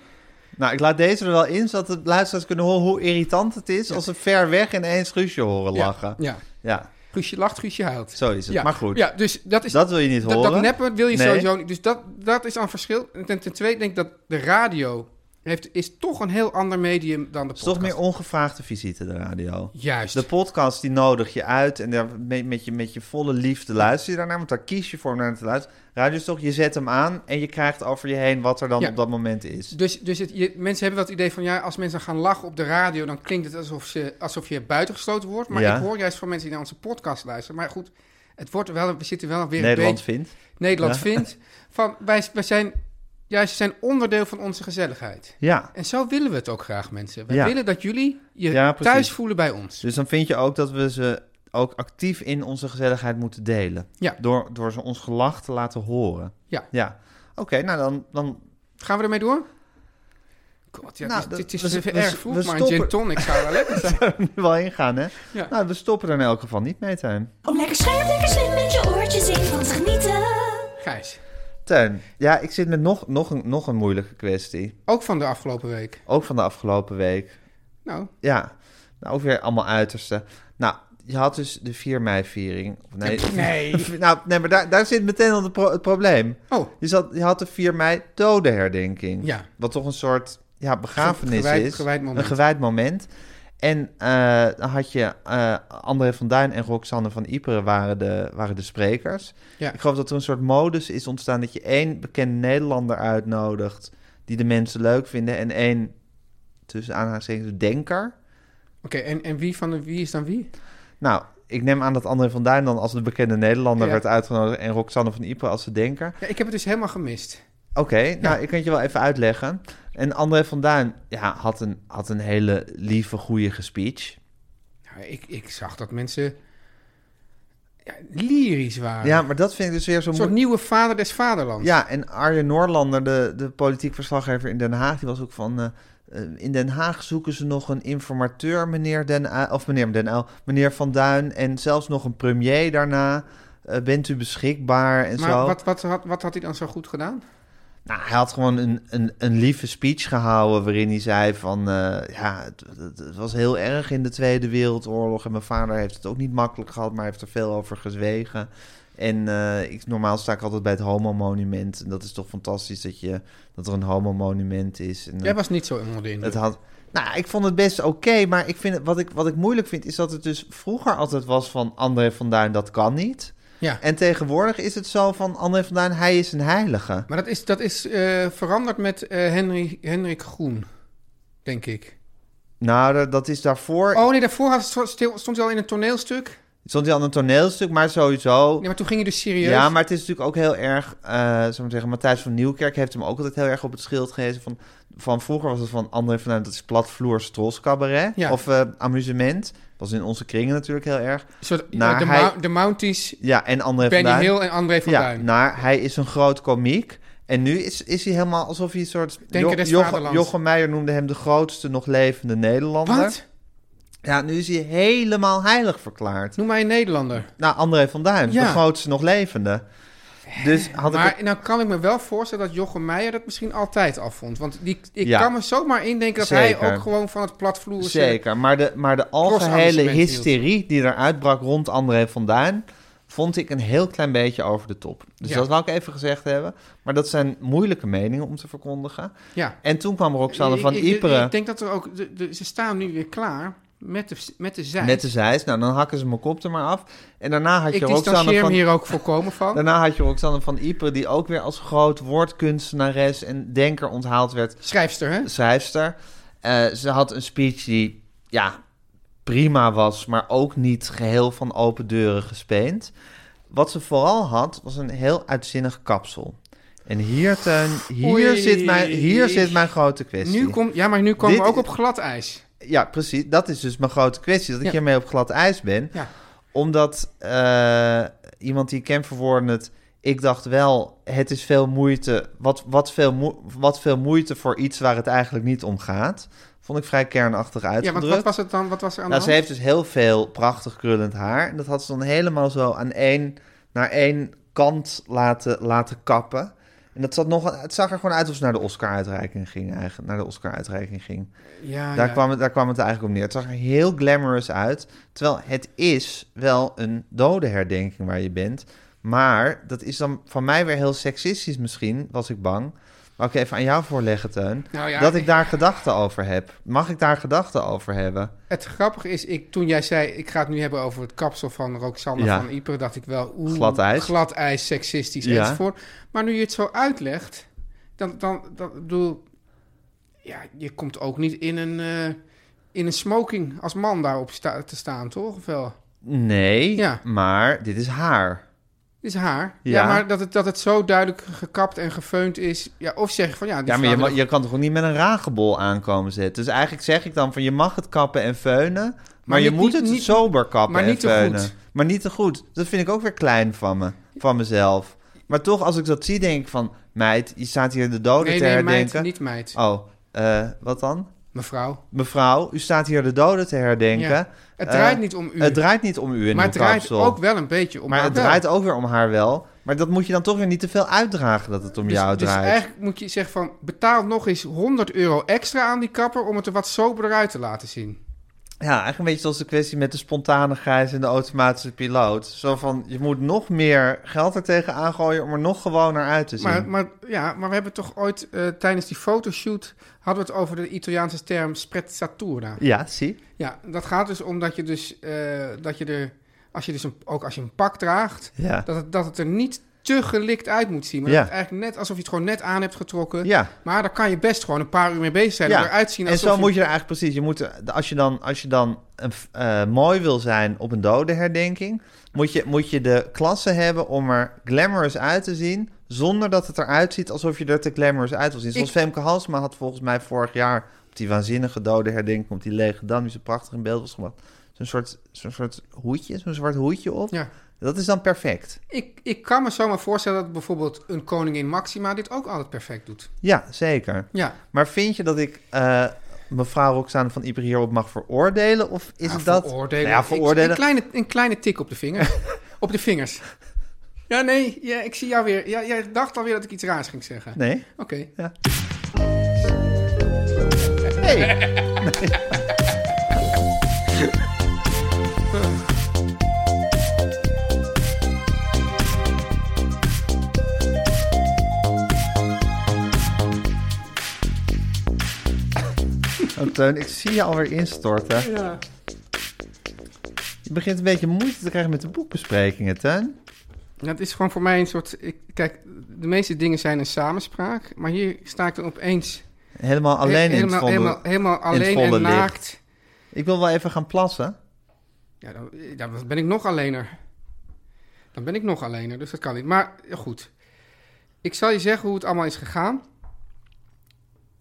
Speaker 1: Nou, ik laat deze er wel in, zodat de luisteraars kunnen horen hoe irritant het is... als ze ver weg ineens Guusje horen
Speaker 2: ja,
Speaker 1: lachen. Ja,
Speaker 2: Ja, Guusje lacht, Guusje huilt.
Speaker 1: zo is het.
Speaker 2: Ja,
Speaker 1: Maar goed,
Speaker 2: Ja, dus dat is...
Speaker 1: dat wil je niet
Speaker 2: dat,
Speaker 1: horen.
Speaker 2: dat neppen wil je
Speaker 1: Nee.
Speaker 2: sowieso niet. Dus dat, dat is aan verschil. En ten, ten tweede denk ik dat de radio heeft, is toch een heel ander medium dan de
Speaker 1: is
Speaker 2: podcast.
Speaker 1: toch meer ongevraagde visite, de radio.
Speaker 2: Juist.
Speaker 1: De podcast, die nodig je uit en daar met, met, je, met je volle liefde luister je daarnaar... want daar kies je voor om naar te luisteren. Radio is toch, je zet hem aan en je krijgt over je heen wat er dan
Speaker 2: Ja.
Speaker 1: op dat moment is.
Speaker 2: dus dus het, je, mensen hebben dat idee van... ja, als mensen gaan lachen op de radio... dan klinkt het alsof, ze, alsof je buitengesloten wordt. Maar
Speaker 1: Ja.
Speaker 2: ik hoor juist van mensen die naar onze podcast luisteren. Maar goed, het wordt wel, we zitten wel weer een
Speaker 1: Nederland
Speaker 2: beetje...
Speaker 1: vindt.
Speaker 2: Nederland
Speaker 1: Ja.
Speaker 2: vindt... Van, wij, wij zijn... Juist, ze zijn onderdeel van onze gezelligheid.
Speaker 1: Ja.
Speaker 2: En zo willen we het ook graag, mensen. Wij
Speaker 1: Ja.
Speaker 2: willen dat jullie je
Speaker 1: Ja, precies.
Speaker 2: thuis voelen bij ons.
Speaker 1: Dus dan vind je ook dat we ze ook actief in onze gezelligheid moeten delen.
Speaker 2: Ja.
Speaker 1: Door, door ze ons gelach te laten horen.
Speaker 2: Ja.
Speaker 1: Ja. Oké, nou dan... dan
Speaker 2: Gaan we ermee door? God, ja,
Speaker 1: Nou,
Speaker 2: het is, het is
Speaker 1: dat- we- we-
Speaker 2: erg vroeg,
Speaker 1: we
Speaker 2: maar een
Speaker 1: stoppen-
Speaker 2: gin tonic zou wel lekker zijn.
Speaker 1: nu wel ingaan, hè?
Speaker 2: Ja.
Speaker 1: Nou, we stoppen er in elk geval niet mee, Tuin.
Speaker 4: Om lekker scherp, lekker slim met je oortjes in van te genieten.
Speaker 2: Gijs,
Speaker 1: Tuin, ja, ik zit met nog, nog, een, nog een moeilijke kwestie.
Speaker 2: ook van de afgelopen week.
Speaker 1: Ook van de afgelopen week.
Speaker 2: Nou,
Speaker 1: Ja, nou, ook weer allemaal uiterste. Nou, je had dus de 4 mei-viering. Of Nee.
Speaker 2: nee.
Speaker 1: nou, nee, maar daar, daar zit meteen al de pro- het probleem.
Speaker 2: Oh,
Speaker 1: Je, zat, je had de 4 mei dodenherdenking.
Speaker 2: Ja.
Speaker 1: Wat toch een soort ja, begrafenis
Speaker 2: Gewijd-
Speaker 1: is.
Speaker 2: gewijd moment.
Speaker 1: Een gewijd moment. En eh, dan had je eh, André van Duin en Roxanne van Iperen waren de, waren de sprekers.
Speaker 2: Ja.
Speaker 1: Ik geloof dat er een soort modus is ontstaan dat je één bekende Nederlander uitnodigt die de mensen leuk vinden en één tussen aanhalingstekens denker.
Speaker 2: Oké, en, en wie, van de, wie is dan wie?
Speaker 1: Nou, ik neem aan dat André van Duin dan als de bekende Nederlander
Speaker 2: Ja.
Speaker 1: werd uitgenodigd en Roxanne van Ieper als de denker.
Speaker 2: Ja, ik heb het dus helemaal gemist.
Speaker 1: Oké, nou, ik kan het je wel even uitleggen. En André van Duin ja, had, een, had een hele lieve, goeie speech.
Speaker 2: Nou, ik, ik zag dat mensen ja, lyrisch waren.
Speaker 1: Ja, maar dat vind ik dus weer zo
Speaker 2: een soort
Speaker 1: moeilijk.
Speaker 2: nieuwe vader des vaderlands.
Speaker 1: Ja, en Arjen Noorlander, de, de politiek verslaggever in Den Haag, die was ook van... eh, eh, in Den Haag zoeken ze nog een informateur, meneer Den Uyl, of meneer Den Uyl, meneer Van Duin... en zelfs nog een premier daarna. Eh, bent u beschikbaar en zo.
Speaker 2: maar wat, wat, had, wat had hij dan zo goed gedaan?
Speaker 1: Nou, hij had gewoon een, een, een lieve speech gehouden waarin hij zei van... eh, ja, het, het- het was heel erg in de Tweede Wereldoorlog... en mijn vader heeft het ook niet makkelijk gehad, maar hij heeft er veel over gezwegen. En eh, ik, normaal sta ik altijd bij het homomonument. En dat is toch fantastisch dat, je, dat er een homomonument is. En,
Speaker 2: Jij was niet zo onder de indruk.
Speaker 1: het had, nou, ik vond het best oké, maar ik vind, het- wat, ik, wat ik moeilijk vind... is dat het dus vroeger altijd was van André van Duin, dat kan niet...
Speaker 2: Ja.
Speaker 1: En tegenwoordig is het zo van André van Duin, hij is een heilige.
Speaker 2: Maar dat is, dat is eh, veranderd met eh, Henry, Hendrik Groen, denk ik.
Speaker 1: Nou, dat, dat is daarvoor.
Speaker 2: Oh nee, daarvoor had, stond stond hij al in een toneelstuk.
Speaker 1: Stond hij aan een toneelstuk, maar sowieso.
Speaker 2: Ja, maar toen ging hij dus serieus.
Speaker 1: Ja, maar het is natuurlijk ook heel erg, eh zou ik zeggen, Matthijs van Nieuwkerk heeft hem ook altijd heel erg op het schild gehezen. Van, van vroeger was het van André van Duin, dat is platvloers trolscabaret.
Speaker 2: Ja.
Speaker 1: Of eh, amusement. was in onze kringen natuurlijk heel erg.
Speaker 2: Een soort,
Speaker 1: Nou,
Speaker 2: eh, de,
Speaker 1: hij-
Speaker 2: Mou- de Mounties,
Speaker 1: Ja, en André van
Speaker 2: Benny
Speaker 1: Duin.
Speaker 2: Hill en André van
Speaker 1: ja,
Speaker 2: Duin.
Speaker 1: naar hij is een groot komiek. En nu is, is hij helemaal alsof hij een soort...
Speaker 2: Denker
Speaker 1: Jo-
Speaker 2: des
Speaker 1: Jochem-
Speaker 2: vaderlands.
Speaker 1: Jochem Meijer noemde hem de grootste nog levende Nederlander.
Speaker 2: Wat?
Speaker 1: Ja, nu is hij helemaal heilig verklaard.
Speaker 2: Noem mij een Nederlander.
Speaker 1: Nou, André van Duin, de
Speaker 2: Ja.
Speaker 1: grootste nog levende. Dus had ik...
Speaker 2: Maar nou kan ik me wel voorstellen dat Jochem Meijer dat misschien altijd al vond. Want die, ik
Speaker 1: Ja.
Speaker 2: kan me zomaar indenken dat
Speaker 1: Zeker.
Speaker 2: hij ook gewoon van het platvloer...
Speaker 1: het- Zeker, maar de, maar de algehele
Speaker 2: Cross-amusement
Speaker 1: hysterie die er uitbrak rond André van Duin... vond ik een heel klein beetje over de top. Dus
Speaker 2: Ja.
Speaker 1: dat wou ik even gezegd hebben. Maar dat zijn moeilijke meningen om te verkondigen.
Speaker 2: Ja.
Speaker 1: En toen kwam Roxanne
Speaker 2: Ik-
Speaker 1: van
Speaker 2: ik, ik-
Speaker 1: Iperen
Speaker 2: Ik denk dat er ook... de- de- ze staan nu weer klaar met de, met de zij.
Speaker 1: met de zeis. Nou, dan hakken ze mijn kop er maar af. En daarna had je
Speaker 2: ik
Speaker 1: Roxanne
Speaker 2: distancieer
Speaker 1: van...
Speaker 2: me hier ook voorkomen van.
Speaker 1: Daarna had je Roxanne van Ieper, die ook weer als groot woordkunstenares en denker onthaald werd.
Speaker 2: Schrijfster, hè?
Speaker 1: schrijfster. Eh, ze had een speech die ja, prima was, maar ook niet geheel van open deuren gespeend. Wat ze vooral had, was een heel uitzinnig kapsel. En hier, Teun, hier,
Speaker 2: Oei.
Speaker 1: zit mijn, hier zit mijn grote kwestie.
Speaker 2: Nu komt ja, maar nu komen
Speaker 1: Dit
Speaker 2: we ook
Speaker 1: is-
Speaker 2: op glad ijs.
Speaker 1: Ja, precies. Dat is dus mijn grote kwestie, dat ik
Speaker 2: Ja.
Speaker 1: hiermee op glad ijs ben.
Speaker 2: Ja.
Speaker 1: Omdat eh, iemand die ik ken verwoordde het... Ik dacht wel, het is veel moeite... Wat, wat, veel moe- wat veel moeite voor iets waar het eigenlijk niet om gaat. Vond ik vrij kernachtig
Speaker 2: Ja, want
Speaker 1: uitgedrukt.
Speaker 2: wat was het dan? Wat was er aan
Speaker 1: nou,
Speaker 2: de
Speaker 1: ze
Speaker 2: hand?
Speaker 1: heeft dus heel veel prachtig krullend haar. En dat had ze dan helemaal zo aan één, naar één kant laten, laten kappen. En dat zat nog, het zag er gewoon uit of ze naar de Oscar-uitreiking ging. Eigenlijk, naar de Oscar-uitreiking ging.
Speaker 2: Ah, Ja,
Speaker 1: Daar,
Speaker 2: ja.
Speaker 1: kwam het, daar kwam het eigenlijk om neer. Het zag er heel glamorous uit. Terwijl het is wel een dode herdenking waar je bent. Maar dat is dan van mij weer heel seksistisch misschien, was ik bang. Wou ik even aan jou voorleggen, Teun.
Speaker 2: Nou ja,
Speaker 1: dat ik daar gedachten over heb. Mag ik daar gedachten over hebben?
Speaker 2: Het grappige is, ik, toen jij zei, ik ga het nu hebben over het kapsel van Roxanne
Speaker 1: Ja.
Speaker 2: van Ieper, dacht ik wel, oeh,
Speaker 1: Glad ijs.
Speaker 2: glad ijs, seksistisch
Speaker 1: Ja.
Speaker 2: enzovoort. Maar nu je het zo uitlegt, dan, dan, dan ik bedoel, ja, je komt ook niet in een, eh, in een smoking als man daarop sta- te staan, toch? Of wel?
Speaker 1: Nee,
Speaker 2: Ja.
Speaker 1: maar dit is haar.
Speaker 2: Het is haar. Ja,
Speaker 1: Ja.
Speaker 2: maar dat het, dat het zo duidelijk gekapt en gefeund is. Ja, of zeg van ja, die
Speaker 1: Ja, maar je,
Speaker 2: vrouw
Speaker 1: ma- je kan toch ook niet met een ragebol aankomen zetten? Dus eigenlijk zeg ik dan van je mag het kappen en feunen... Maar, je
Speaker 2: niet-
Speaker 1: moet
Speaker 2: niet-
Speaker 1: het
Speaker 2: niet-
Speaker 1: sober kappen
Speaker 2: maar
Speaker 1: en
Speaker 2: niet te
Speaker 1: feunen.
Speaker 2: goed.
Speaker 1: Maar niet te goed. Dat vind ik ook weer klein van, me, van mezelf. Maar toch, als ik dat zie, denk ik van... Meid, je staat hier de doden
Speaker 2: Nee,
Speaker 1: te
Speaker 2: nee, meid,
Speaker 1: herdenken.
Speaker 2: niet meid.
Speaker 1: Oh, eh, wat dan?
Speaker 2: Mevrouw.
Speaker 1: Mevrouw, u staat hier de doden te herdenken.
Speaker 2: Ja. Het
Speaker 1: Eh,
Speaker 2: draait niet om u.
Speaker 1: Het draait niet om u in
Speaker 2: maar
Speaker 1: uw
Speaker 2: het draait
Speaker 1: kapsel.
Speaker 2: ook wel een beetje om
Speaker 1: maar
Speaker 2: haar
Speaker 1: het
Speaker 2: wel.
Speaker 1: draait ook weer om haar wel. Maar dat moet je dan toch weer niet te veel uitdragen dat het om
Speaker 2: dus,
Speaker 1: jou
Speaker 2: dus
Speaker 1: draait.
Speaker 2: eigenlijk moet je zeggen van... betaal nog eens 100 euro extra aan die kapper... om het er wat soberder uit te laten zien.
Speaker 1: Ja, eigenlijk een beetje zoals de kwestie met de spontane grijs en de automatische piloot. Zo van, je moet nog meer geld er tegenaan gooien om er nog gewoner uit te zien.
Speaker 2: Maar, maar, ja, maar we hebben toch ooit eh, tijdens die fotoshoot... hadden we het over de Italiaanse term sprezzatura.
Speaker 1: Ja, zie.
Speaker 2: Ja, dat gaat dus om dat je dus... eh, dat je er, als je dus een, ook als je een pak draagt...
Speaker 1: Ja.
Speaker 2: Dat, het, dat het er niet te gelikt uit moet zien. Maar
Speaker 1: Ja.
Speaker 2: dat het eigenlijk net alsof je het gewoon net aan hebt getrokken.
Speaker 1: Ja.
Speaker 2: Maar daar kan je best gewoon een paar uur mee bezig zijn. En eruit zien
Speaker 1: en
Speaker 2: alsof
Speaker 1: zo moet je er eigenlijk precies. Je moet, er- als je dan, als je dan een, f- eh, mooi wil zijn op een dodenherdenking, moet je, moet je de klasse hebben om er glamorous uit te zien. Zonder dat het eruit ziet alsof je er te glamorous uit wil zien. Zoals Femke Halsma had volgens mij vorig jaar op die waanzinnige dodenherdenking, op die lege dam, die zo prachtig in beeld was gebracht. Zo'n soort, zo'n soort hoedje, zo'n zwart hoedje op.
Speaker 2: Ja.
Speaker 1: Dat is dan perfect.
Speaker 2: Ik, ik kan me zomaar voorstellen dat bijvoorbeeld een koningin Maxima dit ook altijd perfect doet.
Speaker 1: Ja, zeker.
Speaker 2: Ja.
Speaker 1: Maar vind je dat ik eh, mevrouw Roxane van Ieper hierop mag veroordelen? Of is
Speaker 2: Ja,
Speaker 1: het dat...
Speaker 2: Veroordelen.
Speaker 1: Nou ja,
Speaker 2: Ik-
Speaker 1: veroordelen.
Speaker 2: Een kleine, een kleine tik op de vinger. op de vingers. Ja, nee, ja, ik zie jou weer. Ja, jij dacht alweer dat ik iets raars ging zeggen.
Speaker 1: Nee?
Speaker 2: Oké.
Speaker 1: Ja. Oh, Teun, ik zie je alweer instorten.
Speaker 2: Ja.
Speaker 1: Je begint een beetje moeite te krijgen met de boekbesprekingen, Teun.
Speaker 2: Dat is gewoon voor mij een soort... Ik, kijk, de meeste dingen zijn een samenspraak. Maar hier sta ik dan opeens...
Speaker 1: Helemaal alleen
Speaker 2: he-
Speaker 1: in het
Speaker 2: helemaal,
Speaker 1: volle...
Speaker 2: helemaal, helemaal
Speaker 1: het
Speaker 2: alleen
Speaker 1: volle
Speaker 2: en
Speaker 1: licht.
Speaker 2: naakt.
Speaker 1: Ik wil wel even gaan plassen.
Speaker 2: Ja, dan, dan ben ik nog alleener. Dan ben ik nog alleener, dus dat kan niet. Maar ja, goed, ik zal je zeggen hoe het allemaal is gegaan.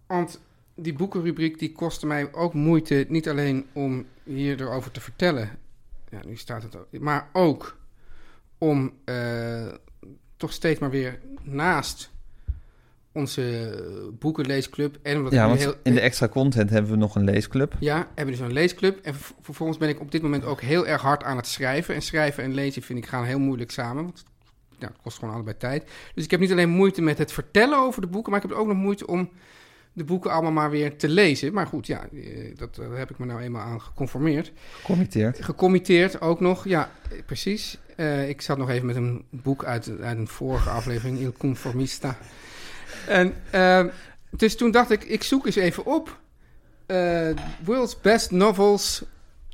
Speaker 2: Want die boekenrubriek die kostte mij ook moeite, niet alleen om hier erover te vertellen. Ja, nu staat het ook. Maar ook om eh, toch steeds maar weer naast onze boekenleesclub. En omdat ik
Speaker 1: Ja,
Speaker 2: nu
Speaker 1: want
Speaker 2: heel,
Speaker 1: in de extra content hebben we nog een leesclub.
Speaker 2: ja, hebben dus een leesclub. En ver- vervolgens ben ik op dit moment ook heel erg hard aan het schrijven. En schrijven en lezen vind ik gaan heel moeilijk samen. Want ja, het kost gewoon allebei tijd. Dus ik heb niet alleen moeite met het vertellen over de boeken, maar ik heb ook nog moeite om de boeken allemaal maar weer te lezen. Maar goed, ja, eh, dat, daar heb ik me nou eenmaal aan geconformeerd.
Speaker 1: Gecommitteerd.
Speaker 2: Gecommitteerd ook nog, ja, eh, precies. Eh, ik zat nog even met een boek uit, uit een vorige aflevering, Il Conformista. En, eh, dus toen dacht ik, ik zoek eens even op. eh, World's Best Novels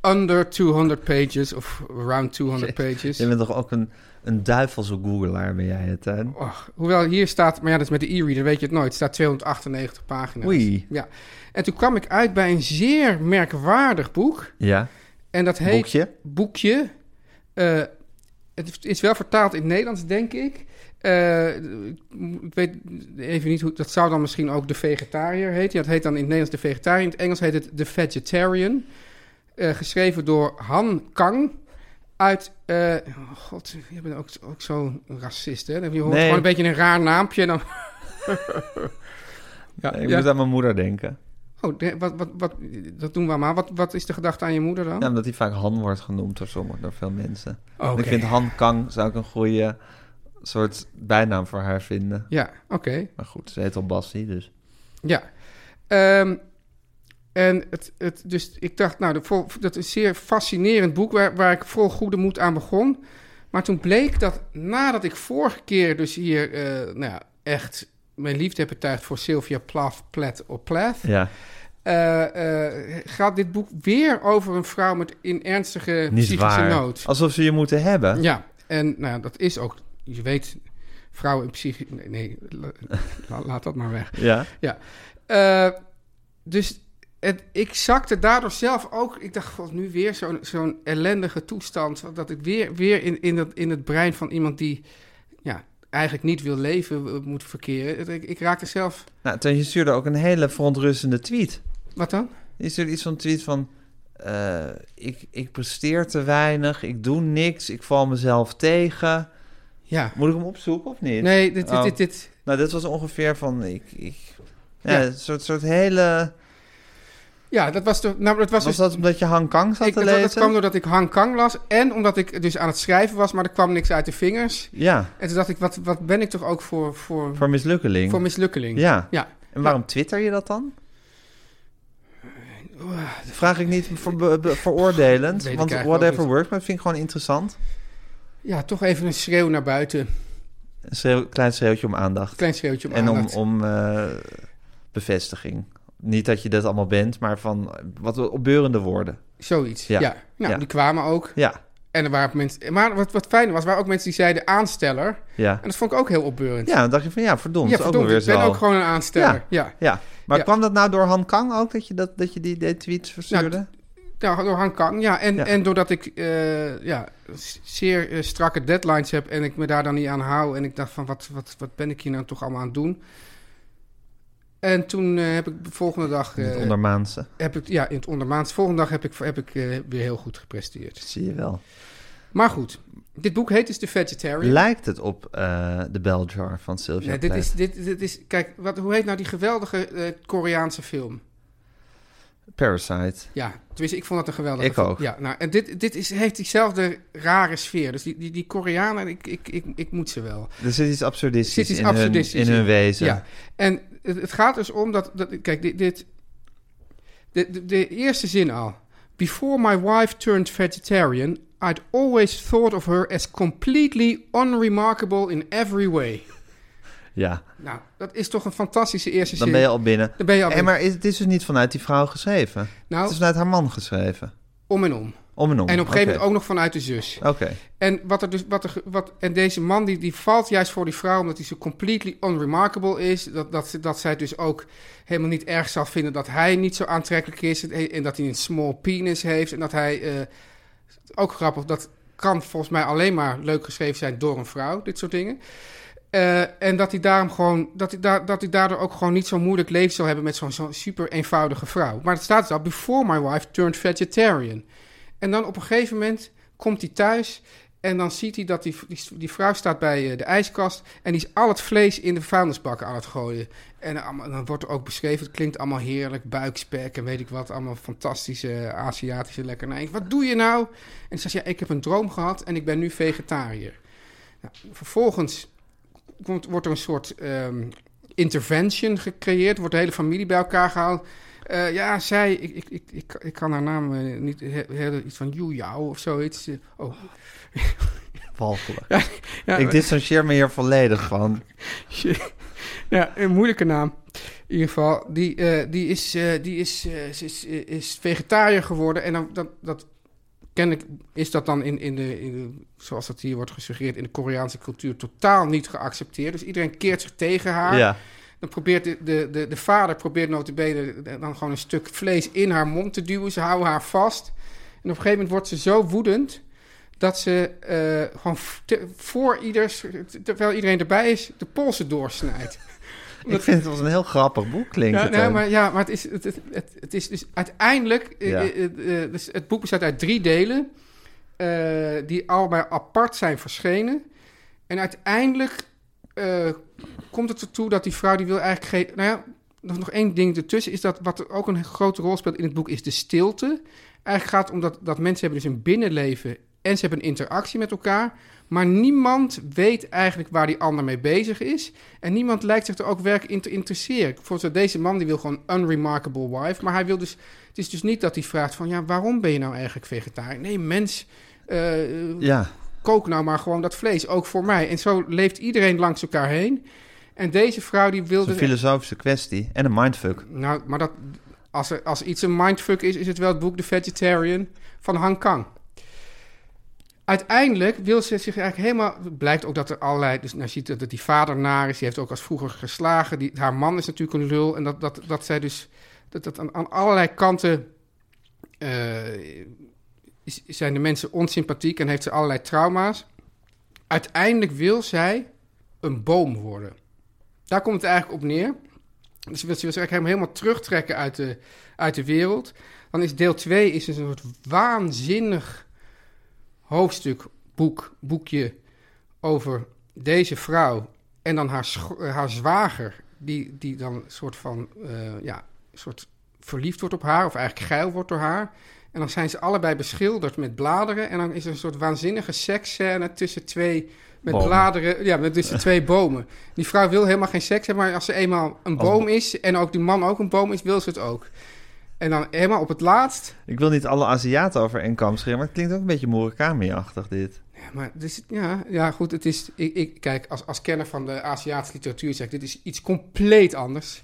Speaker 2: Under 200 Pages of Around 200 Pages.
Speaker 1: Je bent toch ook een, een duivelse googelaar, ben jij het, Teun?
Speaker 2: Och, hoewel hier staat, maar ja, dat is met de e-reader, weet je het nooit. Het staat 298 pagina's.
Speaker 1: Oei.
Speaker 2: Ja. En toen kwam ik uit bij een zeer merkwaardig boek.
Speaker 1: Ja,
Speaker 2: En dat heet...
Speaker 1: boekje.
Speaker 2: boekje. Eh, het is wel vertaald in het Nederlands, denk ik. Eh, ik weet even niet hoe... Dat zou dan misschien ook De Vegetariër heten. Ja, het heet dan in het Nederlands De Vegetariër. In het Engels heet het The Vegetarian. Eh, geschreven door Han Kang. Uit... eh, oh God, je bent ook, ook zo'n racist, hè? Je hoort
Speaker 1: Nee.
Speaker 2: gewoon een beetje een raar naampje. en Dan... ja,
Speaker 1: Ik
Speaker 2: ja.
Speaker 1: moet aan mijn moeder denken.
Speaker 2: Oh, de- wat, wat, wat, dat doen we maar. Wat, wat is de gedachte aan je moeder dan?
Speaker 1: Ja, omdat hij vaak Han wordt genoemd door sommige, door veel mensen.
Speaker 2: Oké.
Speaker 1: Ik vind Han Kang zou ik een goede soort bijnaam voor haar vinden.
Speaker 2: Ja, oké.
Speaker 1: Maar goed, ze heet al Bassie, dus.
Speaker 2: Ja. Ehm, en het, het, dus ik dacht, nou, de vol- dat is een zeer fascinerend boek waar, waar ik vol goede moed aan begon. Maar toen bleek dat nadat ik vorige keer dus hier eh, nou ja, echt mijn liefde heb betuigd voor Sylvia Plath, Plath of Plath,
Speaker 1: Ja,
Speaker 2: eh, eh, gaat dit boek weer over een vrouw met in ernstige
Speaker 1: niet
Speaker 2: psychische
Speaker 1: waar. Oh,
Speaker 2: nood.
Speaker 1: Alsof ze je moeten hebben.
Speaker 2: Ja, en nou, ja, dat is ook, je weet, vrouwen in psychische... Nee, nee la- la- laat dat maar weg.
Speaker 1: Ja.
Speaker 2: Ja. Eh, dus het, ik zakte daardoor zelf ook... Ik dacht, god, nu weer zo'n zo'n ellendige toestand. Dat ik weer, weer in, in, dat, in het brein van iemand die ja, eigenlijk niet wil leven eh, moet verkeren. Het- Ik, ik raakte zelf...
Speaker 1: Nou, toen je stuurde ook een hele verontrustende tweet.
Speaker 2: Wat dan?
Speaker 1: Je stuurde iets van tweet van... eh, ik, ik presteer te weinig, ik doe niks, ik val mezelf tegen.
Speaker 2: Ja.
Speaker 1: Moet ik hem opzoeken of niet?
Speaker 2: Nee, dit, dit,
Speaker 1: Oh.
Speaker 2: dit, dit-
Speaker 1: Nou, dit was ongeveer van... Ik, ik, ja,
Speaker 2: Ja.
Speaker 1: Een soort, soort hele...
Speaker 2: Ja, dat was, de, nou, dat was,
Speaker 1: Was
Speaker 2: dus
Speaker 1: dat omdat je Hang Kang zat
Speaker 2: ik,
Speaker 1: te
Speaker 2: dat,
Speaker 1: lezen?
Speaker 2: dat kwam doordat ik Hang Kang las en omdat ik dus aan het schrijven was, maar er kwam niks uit de vingers.
Speaker 1: Ja,
Speaker 2: En toen dacht ik, wat, wat ben ik toch ook voor, voor,
Speaker 1: voor mislukkeling.
Speaker 2: voor mislukkeling?
Speaker 1: Ja.
Speaker 2: ja.
Speaker 1: En waarom twitter je dat dan? Dat vraag ik niet voor, be- be- veroordelend,
Speaker 2: Weet ik
Speaker 1: want
Speaker 2: eigenlijk ook
Speaker 1: whatever
Speaker 2: niet.
Speaker 1: works, maar dat vind ik gewoon interessant.
Speaker 2: Ja, toch even een schreeuw naar buiten.
Speaker 1: Een schreeuw- klein schreeuwtje om aandacht.
Speaker 2: Klein schreeuwtje om
Speaker 1: en om,
Speaker 2: aandacht.
Speaker 1: om eh, bevestiging. Niet dat je dat allemaal bent, maar van wat opbeurende woorden.
Speaker 2: Zoiets, ja.
Speaker 1: Ja.
Speaker 2: Nou,
Speaker 1: Ja.
Speaker 2: die kwamen ook.
Speaker 1: Ja,
Speaker 2: En er waren mensen... Maar wat, wat fijn was, waren ook mensen die zeiden aansteller.
Speaker 1: ja.
Speaker 2: En dat vond ik ook heel opbeurend.
Speaker 1: Ja, dan dacht je van ja, verdomd,
Speaker 2: Ja,
Speaker 1: ook
Speaker 2: verdomd,
Speaker 1: alweer
Speaker 2: ik
Speaker 1: zo.
Speaker 2: ben ook gewoon een aansteller.
Speaker 1: Ja.
Speaker 2: Ja.
Speaker 1: Ja, maar
Speaker 2: Ja.
Speaker 1: kwam dat nou door Han Kang ook, dat je, dat, dat je die, die tweets verstuurde?
Speaker 2: Nou, door Han Kang, ja. En,
Speaker 1: Ja.
Speaker 2: en doordat ik eh, ja, s- zeer eh, strakke deadlines heb en ik me daar dan niet aan hou. En ik dacht van, wat, wat, wat ben ik hier nou toch allemaal aan het doen? En toen eh, heb ik de volgende dag...
Speaker 1: In het
Speaker 2: eh,
Speaker 1: ondermaanse,
Speaker 2: heb ik, ja, in het ondermaats. Volgende dag heb ik, heb ik eh, weer heel goed gepresteerd.
Speaker 1: dat zie je wel.
Speaker 2: Maar goed, dit boek heet dus The Vegetarian.
Speaker 1: Lijkt het op eh, de bell jar van Sylvia
Speaker 2: Nee, dit,
Speaker 1: Plath?
Speaker 2: is, dit, dit is, kijk, wat, hoe heet nou die geweldige eh, Koreaanse film?
Speaker 1: Parasite.
Speaker 2: Ja, tenminste, ik vond dat een geweldige
Speaker 1: Ik
Speaker 2: film.
Speaker 1: ook.
Speaker 2: Ja, nou, en dit, dit is, heeft diezelfde rare sfeer. Dus die, die, die Koreanen, ik, ik, ik, ik moet ze wel.
Speaker 1: Er zit iets absurdistisch,
Speaker 2: Zit iets
Speaker 1: in,
Speaker 2: absurdistisch
Speaker 1: hun, in hun
Speaker 2: in.
Speaker 1: wezen.
Speaker 2: Ja, en het, het gaat dus om dat, dat kijk, dit, dit de, de, de eerste zin al. Before my wife turned vegetarian, I'd always thought of her as completely unremarkable in every way.
Speaker 1: Ja,
Speaker 2: Nou, dat is toch een fantastische eerste zin.
Speaker 1: dan ben je al binnen.
Speaker 2: Dan ben je al
Speaker 1: Eh,
Speaker 2: binnen.
Speaker 1: maar is- het is dus niet vanuit die vrouw geschreven.
Speaker 2: Nou.
Speaker 1: het is vanuit haar man geschreven.
Speaker 2: Om en om.
Speaker 1: Om en om.
Speaker 2: En op een gegeven
Speaker 1: Oké.
Speaker 2: moment ook nog vanuit de zus.
Speaker 1: Oké.
Speaker 2: En, wat er dus, wat er, ge- wat, en deze man die, die valt juist voor die vrouw omdat hij zo completely unremarkable is. Dat, dat, ze- dat zij dus ook helemaal niet erg zal vinden dat hij niet zo aantrekkelijk is. En, en dat hij een small penis heeft. En dat hij, eh, ook grappig, dat kan volgens mij alleen maar leuk geschreven zijn door een vrouw. Dit soort dingen. Eh, en dat hij, daarom gewoon, dat, hij daar, dat hij daardoor ook gewoon niet zo'n moeilijk leven zal hebben met zo'n zo'n super eenvoudige vrouw. Maar het staat dus al, before my wife turned vegetarian. En dan op een gegeven moment komt hij thuis en dan ziet hij dat die, die, die vrouw staat bij eh, de ijskast en die is al het vlees in de vuilnisbakken aan het gooien. En allemaal- dan wordt er ook beschreven, het klinkt allemaal heerlijk, buikspek en weet ik wat, allemaal fantastische eh, Aziatische lekkernij. Wat doe je nou? En ze zegt, ja, ik heb een droom gehad en ik ben nu vegetariër. Nou, vervolgens komt, wordt er een soort ehm, intervention gecreëerd. Wordt de hele familie bij elkaar gehaald. Eh, ja, zij, ik, ik, ik, ik, ik kan haar naam eh, niet, he- he- iets van Yu Yao of zoiets. Eh, Oh,
Speaker 1: Walgelijk.
Speaker 2: ja,
Speaker 1: ik distancieer me hier volledig van.
Speaker 2: ja, een moeilijke naam. In ieder geval, die, eh, die, is, eh, die is, eh, ze is, eh, is vegetariër geworden. En dan, dat, dat kennelijk is dat dan in, in, de, in de, zoals dat hier wordt gesuggereerd, in de Koreaanse cultuur totaal niet geaccepteerd. Dus iedereen keert zich tegen haar.
Speaker 1: Ja.
Speaker 2: Dan probeert de, de, de, de vader probeert notabene dan gewoon een stuk vlees in haar mond te duwen. Ze houden haar vast. En op een gegeven moment wordt ze zo woedend dat ze eh, gewoon f- te- voor ieders, terwijl iedereen erbij is, de polsen doorsnijdt.
Speaker 1: Ik vind het als een heel grappig boek klinken.
Speaker 2: Ja,
Speaker 1: Ja,
Speaker 2: nee, maar, ja, maar het is, het, het, het, het is dus uiteindelijk... eh,
Speaker 1: Ja.
Speaker 2: eh, eh, eh, dus het boek bestaat uit drie delen... eh, die allemaal apart zijn verschenen. En uiteindelijk eh, komt het ertoe dat die vrouw... die wil eigenlijk geen... Nou ja, nog, nog één ding ertussen is dat... wat er ook een grote rol speelt in het boek is de stilte. Eigenlijk gaat het om dat, dat mensen hebben dus een binnenleven... en ze hebben een interactie met elkaar... Maar niemand weet eigenlijk waar die ander mee bezig is. En niemand lijkt zich er ook werkelijk in te interesseren. Bijvoorbeeld deze man die wil gewoon unremarkable wife. Maar hij wil dus. Het is dus niet dat hij vraagt van ja, waarom ben je nou eigenlijk vegetariër? Nee, mens. eh,
Speaker 1: ja.
Speaker 2: kook nou maar gewoon dat vlees, ook voor mij. En zo leeft iedereen langs elkaar heen. En deze vrouw die dus
Speaker 1: Het
Speaker 2: wilde.
Speaker 1: is een filosofische kwestie en een mindfuck.
Speaker 2: Nou, maar dat, als, er, als iets een mindfuck is, is het wel het boek The Vegetarian van Han Kang. Uiteindelijk wil ze zich eigenlijk helemaal... Het blijkt ook dat er allerlei... Dus nou, je ziet dat dat die vader naar is. Die heeft ook als vroeger geslagen. Die, haar man is natuurlijk een lul. En dat, dat, dat zij dus... Dat, dat aan, aan allerlei kanten... eh, is- zijn de mensen onsympathiek en heeft ze allerlei trauma's. Uiteindelijk wil zij een boom worden. Daar komt het eigenlijk op neer. Dus ze wil ze wil zich eigenlijk helemaal terugtrekken uit de, uit de wereld. Dan is deel 2 is dus een soort waanzinnig hoofdstuk, boek, boekje over deze vrouw en dan haar, scho- eh, haar zwager, die, die dan een soort van eh, ja, een soort verliefd wordt op haar, of eigenlijk geil wordt door haar. En dan zijn ze allebei beschilderd met bladeren. En dan is er een soort waanzinnige seksscène tussen twee met
Speaker 1: Bomen.
Speaker 2: bladeren. Ja, met tussen twee bomen. Die vrouw wil helemaal geen seks hebben, maar als ze eenmaal een boom is en ook die man ook een boom is, wil ze het ook. En dan helemaal op het laatst.
Speaker 1: Ik wil niet alle Aziaten over één kam scheren, maar het klinkt ook een beetje Murakami-achtig dit.
Speaker 2: Ja, maar dus, ja, ja, goed, het is. Ik, ik, kijk, als, als kenner van de Aziatische literatuur zeg ik, dit is iets compleet anders.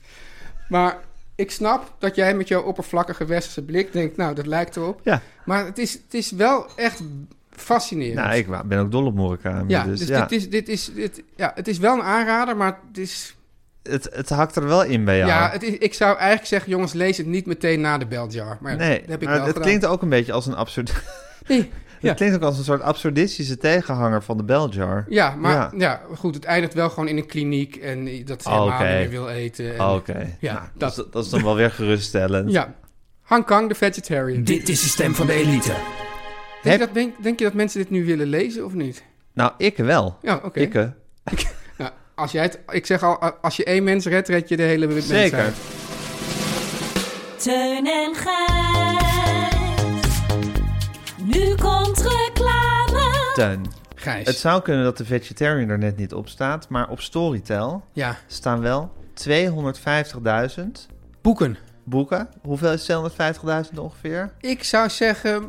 Speaker 2: Maar ik snap dat jij met jouw oppervlakkige westerse blik denkt, nou, dat lijkt erop.
Speaker 1: Ja,
Speaker 2: Maar het is, het is wel echt fascinerend.
Speaker 1: nou, ik wa- ben ook dol op Murakami,
Speaker 2: ja,
Speaker 1: dus,
Speaker 2: dus
Speaker 1: ja.
Speaker 2: Dit is, dit is, dit, ja, het is wel een aanrader, maar het is.
Speaker 1: Het, het hakt er wel in bij
Speaker 2: Ja,
Speaker 1: jou.
Speaker 2: het is, ik zou eigenlijk zeggen, jongens, lees het niet meteen na de beljar. Maar
Speaker 1: nee,
Speaker 2: dat heb ik
Speaker 1: maar het
Speaker 2: wel gedaan.
Speaker 1: klinkt ook een beetje als een absurd...
Speaker 2: Nee, ja.
Speaker 1: Het klinkt ook als een soort absurdistische tegenhanger van de Beljar.
Speaker 2: Ja, maar
Speaker 1: Ja.
Speaker 2: ja. goed, het eindigt wel gewoon in een kliniek en dat ze
Speaker 1: Oh,
Speaker 2: helemaal
Speaker 1: oké.
Speaker 2: niet meer wil eten. en-
Speaker 1: Oké,
Speaker 2: Ja,
Speaker 1: Nou, dat,
Speaker 2: dat-
Speaker 1: is- dat is dan wel weer geruststellend.
Speaker 2: Ja, Hang Kang, de vegetarian.
Speaker 3: Dit is de stem van de elite.
Speaker 2: Denk,
Speaker 1: Heb-
Speaker 2: je dat, denk, denk je dat mensen dit nu willen lezen of niet?
Speaker 1: Nou, ik wel.
Speaker 2: Ja, oké.
Speaker 1: Ik, eh,
Speaker 2: Nou, als jij het, ik zeg al, als je één mens redt, red je de hele mensheid.
Speaker 1: zeker.
Speaker 4: Teun en Gijs. Nu komt reclame.
Speaker 1: Teun,
Speaker 2: Gijs.
Speaker 1: het zou kunnen dat de vegetarian er net niet op staat, maar op Storytel
Speaker 2: Ja,
Speaker 1: staan wel 250.000
Speaker 2: boeken.
Speaker 1: boeken. Hoeveel is 250.000 ongeveer?
Speaker 2: Ik zou zeggen,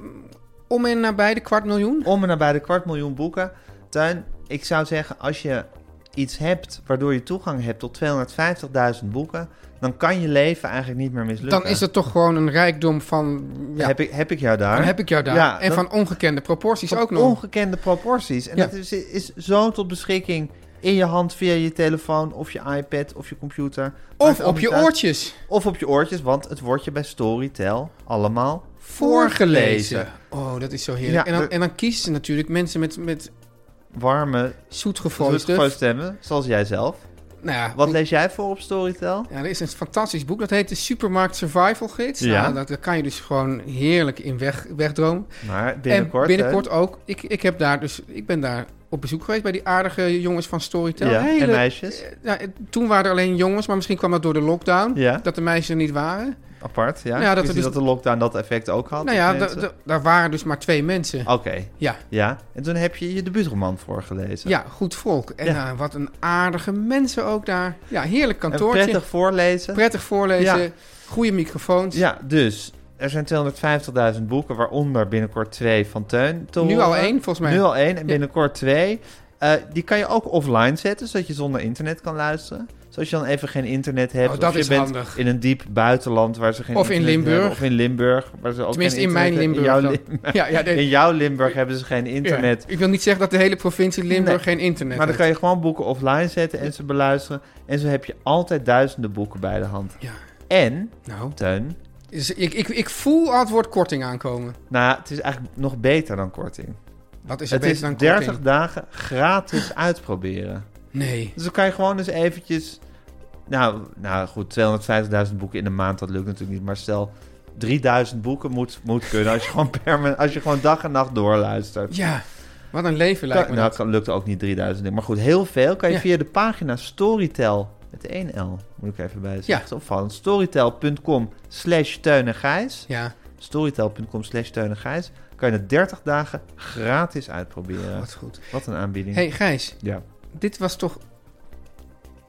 Speaker 2: om en nabij de kwart miljoen.
Speaker 1: Om en nabij de kwart miljoen boeken. Tuin, ik zou zeggen, als je iets hebt waardoor je toegang hebt tot 250.000 boeken, dan kan je leven eigenlijk niet meer mislukken.
Speaker 2: Dan is het toch gewoon een rijkdom van... Ja,
Speaker 1: Heb, ik, heb ik jou daar?
Speaker 2: dan heb ik jou daar.
Speaker 1: Ja,
Speaker 2: en
Speaker 1: dan-
Speaker 2: van ongekende proporties
Speaker 1: Van
Speaker 2: ook nog.
Speaker 1: Ongekende proporties. En
Speaker 2: Ja.
Speaker 1: dat is, is zo tot beschikking in je hand via je telefoon of je iPad of je computer. Maakt
Speaker 2: Of
Speaker 1: allemaal
Speaker 2: op je
Speaker 1: niet uit.
Speaker 2: oortjes.
Speaker 1: Of op je oortjes, want het wordt je bij Storytel allemaal
Speaker 2: Voorgelezen.
Speaker 1: voorgelezen.
Speaker 2: Oh, dat is zo
Speaker 1: Ja,
Speaker 2: heerlijk.
Speaker 1: er-
Speaker 2: en, dan, en dan kiezen ze natuurlijk mensen met, met
Speaker 1: Warme,
Speaker 2: zoetgevoelige...
Speaker 1: rustige stemmen, zoals jij zelf.
Speaker 2: Nou ja,
Speaker 1: Wat lees jij voor op Storytel?
Speaker 2: Ja, er is een fantastisch boek. Dat heet de Supermarkt Survival Gids.
Speaker 1: Ja.
Speaker 2: Nou, dat, daar kan je dus gewoon heerlijk in weg, wegdromen.
Speaker 1: Maar binnenkort,
Speaker 2: en binnenkort
Speaker 1: hè?
Speaker 2: ook. Ik, ik, heb daar dus, ik ben daar op bezoek geweest bij die aardige jongens van Storytel.
Speaker 1: ja.
Speaker 2: Hele-
Speaker 1: en meisjes,
Speaker 2: eh, nou, eh, toen waren er alleen jongens, maar misschien kwam dat door de lockdown.
Speaker 1: Ja.
Speaker 2: Dat de meisjes er niet waren.
Speaker 1: apart. Ja.
Speaker 2: Nou ja, dat
Speaker 1: dat,
Speaker 2: er dus-
Speaker 1: dat de lockdown dat effect ook had.
Speaker 2: nou
Speaker 1: op
Speaker 2: ja, da-
Speaker 1: mensen?
Speaker 2: da- daar waren dus maar twee mensen.
Speaker 1: Oké,
Speaker 2: Ja.
Speaker 1: ja. En toen heb je je debuutroman voorgelezen.
Speaker 2: ja, goed volk. En
Speaker 1: Ja.
Speaker 2: eh, wat een aardige mensen ook daar. Ja, heerlijk
Speaker 1: En
Speaker 2: kantoortje.
Speaker 1: prettig voorlezen.
Speaker 2: Prettig voorlezen.
Speaker 1: Ja.
Speaker 2: Goede microfoons.
Speaker 1: Ja, dus er zijn 250.000 boeken, waaronder binnenkort twee van Teun. te
Speaker 2: Nu
Speaker 1: horen.
Speaker 2: al één, volgens mij.
Speaker 1: Nu al één en binnenkort twee. Eh, die kan je ook offline zetten, zodat je zonder internet kan luisteren. Zoals je dan even geen internet hebt.
Speaker 2: Oh, dat
Speaker 1: of je
Speaker 2: is
Speaker 1: bent
Speaker 2: handig.
Speaker 1: in een diep buitenland waar ze geen
Speaker 2: Of in
Speaker 1: internet
Speaker 2: Limburg.
Speaker 1: hebben, Of in Limburg. Waar ze ook
Speaker 2: Tenminste,
Speaker 1: geen
Speaker 2: in mijn
Speaker 1: internet
Speaker 2: Limburg.
Speaker 1: hebben.
Speaker 2: dan.
Speaker 1: In jouw, Lim-
Speaker 2: Ja, ja, nee.
Speaker 1: in jouw Limburg hebben ze geen internet.
Speaker 2: Ja, ik wil niet zeggen dat de hele provincie Limburg
Speaker 1: Nee.
Speaker 2: geen
Speaker 1: Maar
Speaker 2: internet
Speaker 1: dan
Speaker 2: heeft.
Speaker 1: kan je gewoon boeken offline zetten en ze beluisteren. En zo heb je altijd duizenden boeken bij de hand.
Speaker 2: Ja.
Speaker 1: En,
Speaker 2: Nou,
Speaker 1: Teun,
Speaker 2: dus ik, ik, ik voel al het woord korting aankomen.
Speaker 1: nou, het is eigenlijk nog beter dan korting.
Speaker 2: Wat is er
Speaker 1: Het
Speaker 2: beter
Speaker 1: is
Speaker 2: dan
Speaker 1: 30
Speaker 2: korting?
Speaker 1: dagen gratis uitproberen.
Speaker 2: Nee.
Speaker 1: Dus dan kan je gewoon eens eventjes... Nou, nou goed, 250.000 boeken in een maand, dat lukt natuurlijk niet. Maar stel, 3000 boeken moet, moet kunnen als je, gewoon permanent, als je gewoon dag en nacht doorluistert.
Speaker 2: Ja, wat een leven lijkt
Speaker 1: Kan,
Speaker 2: me
Speaker 1: nou,
Speaker 2: dat.
Speaker 1: kan- lukt ook niet 3000 dingen. Maar goed, heel veel kan je
Speaker 2: Ja.
Speaker 1: via de pagina Storytel, met één L, moet ik even bij zeggen.
Speaker 2: Ja.
Speaker 1: Het is opvallend. Storytel.com slash Teun en Gijs.
Speaker 2: Ja,
Speaker 1: Storytel.com slash Teun en Gijs. Kan je het 30 dagen gratis uitproberen.
Speaker 2: wat goed.
Speaker 1: Wat een aanbieding.
Speaker 2: hey, Gijs,
Speaker 1: Ja.
Speaker 2: dit was toch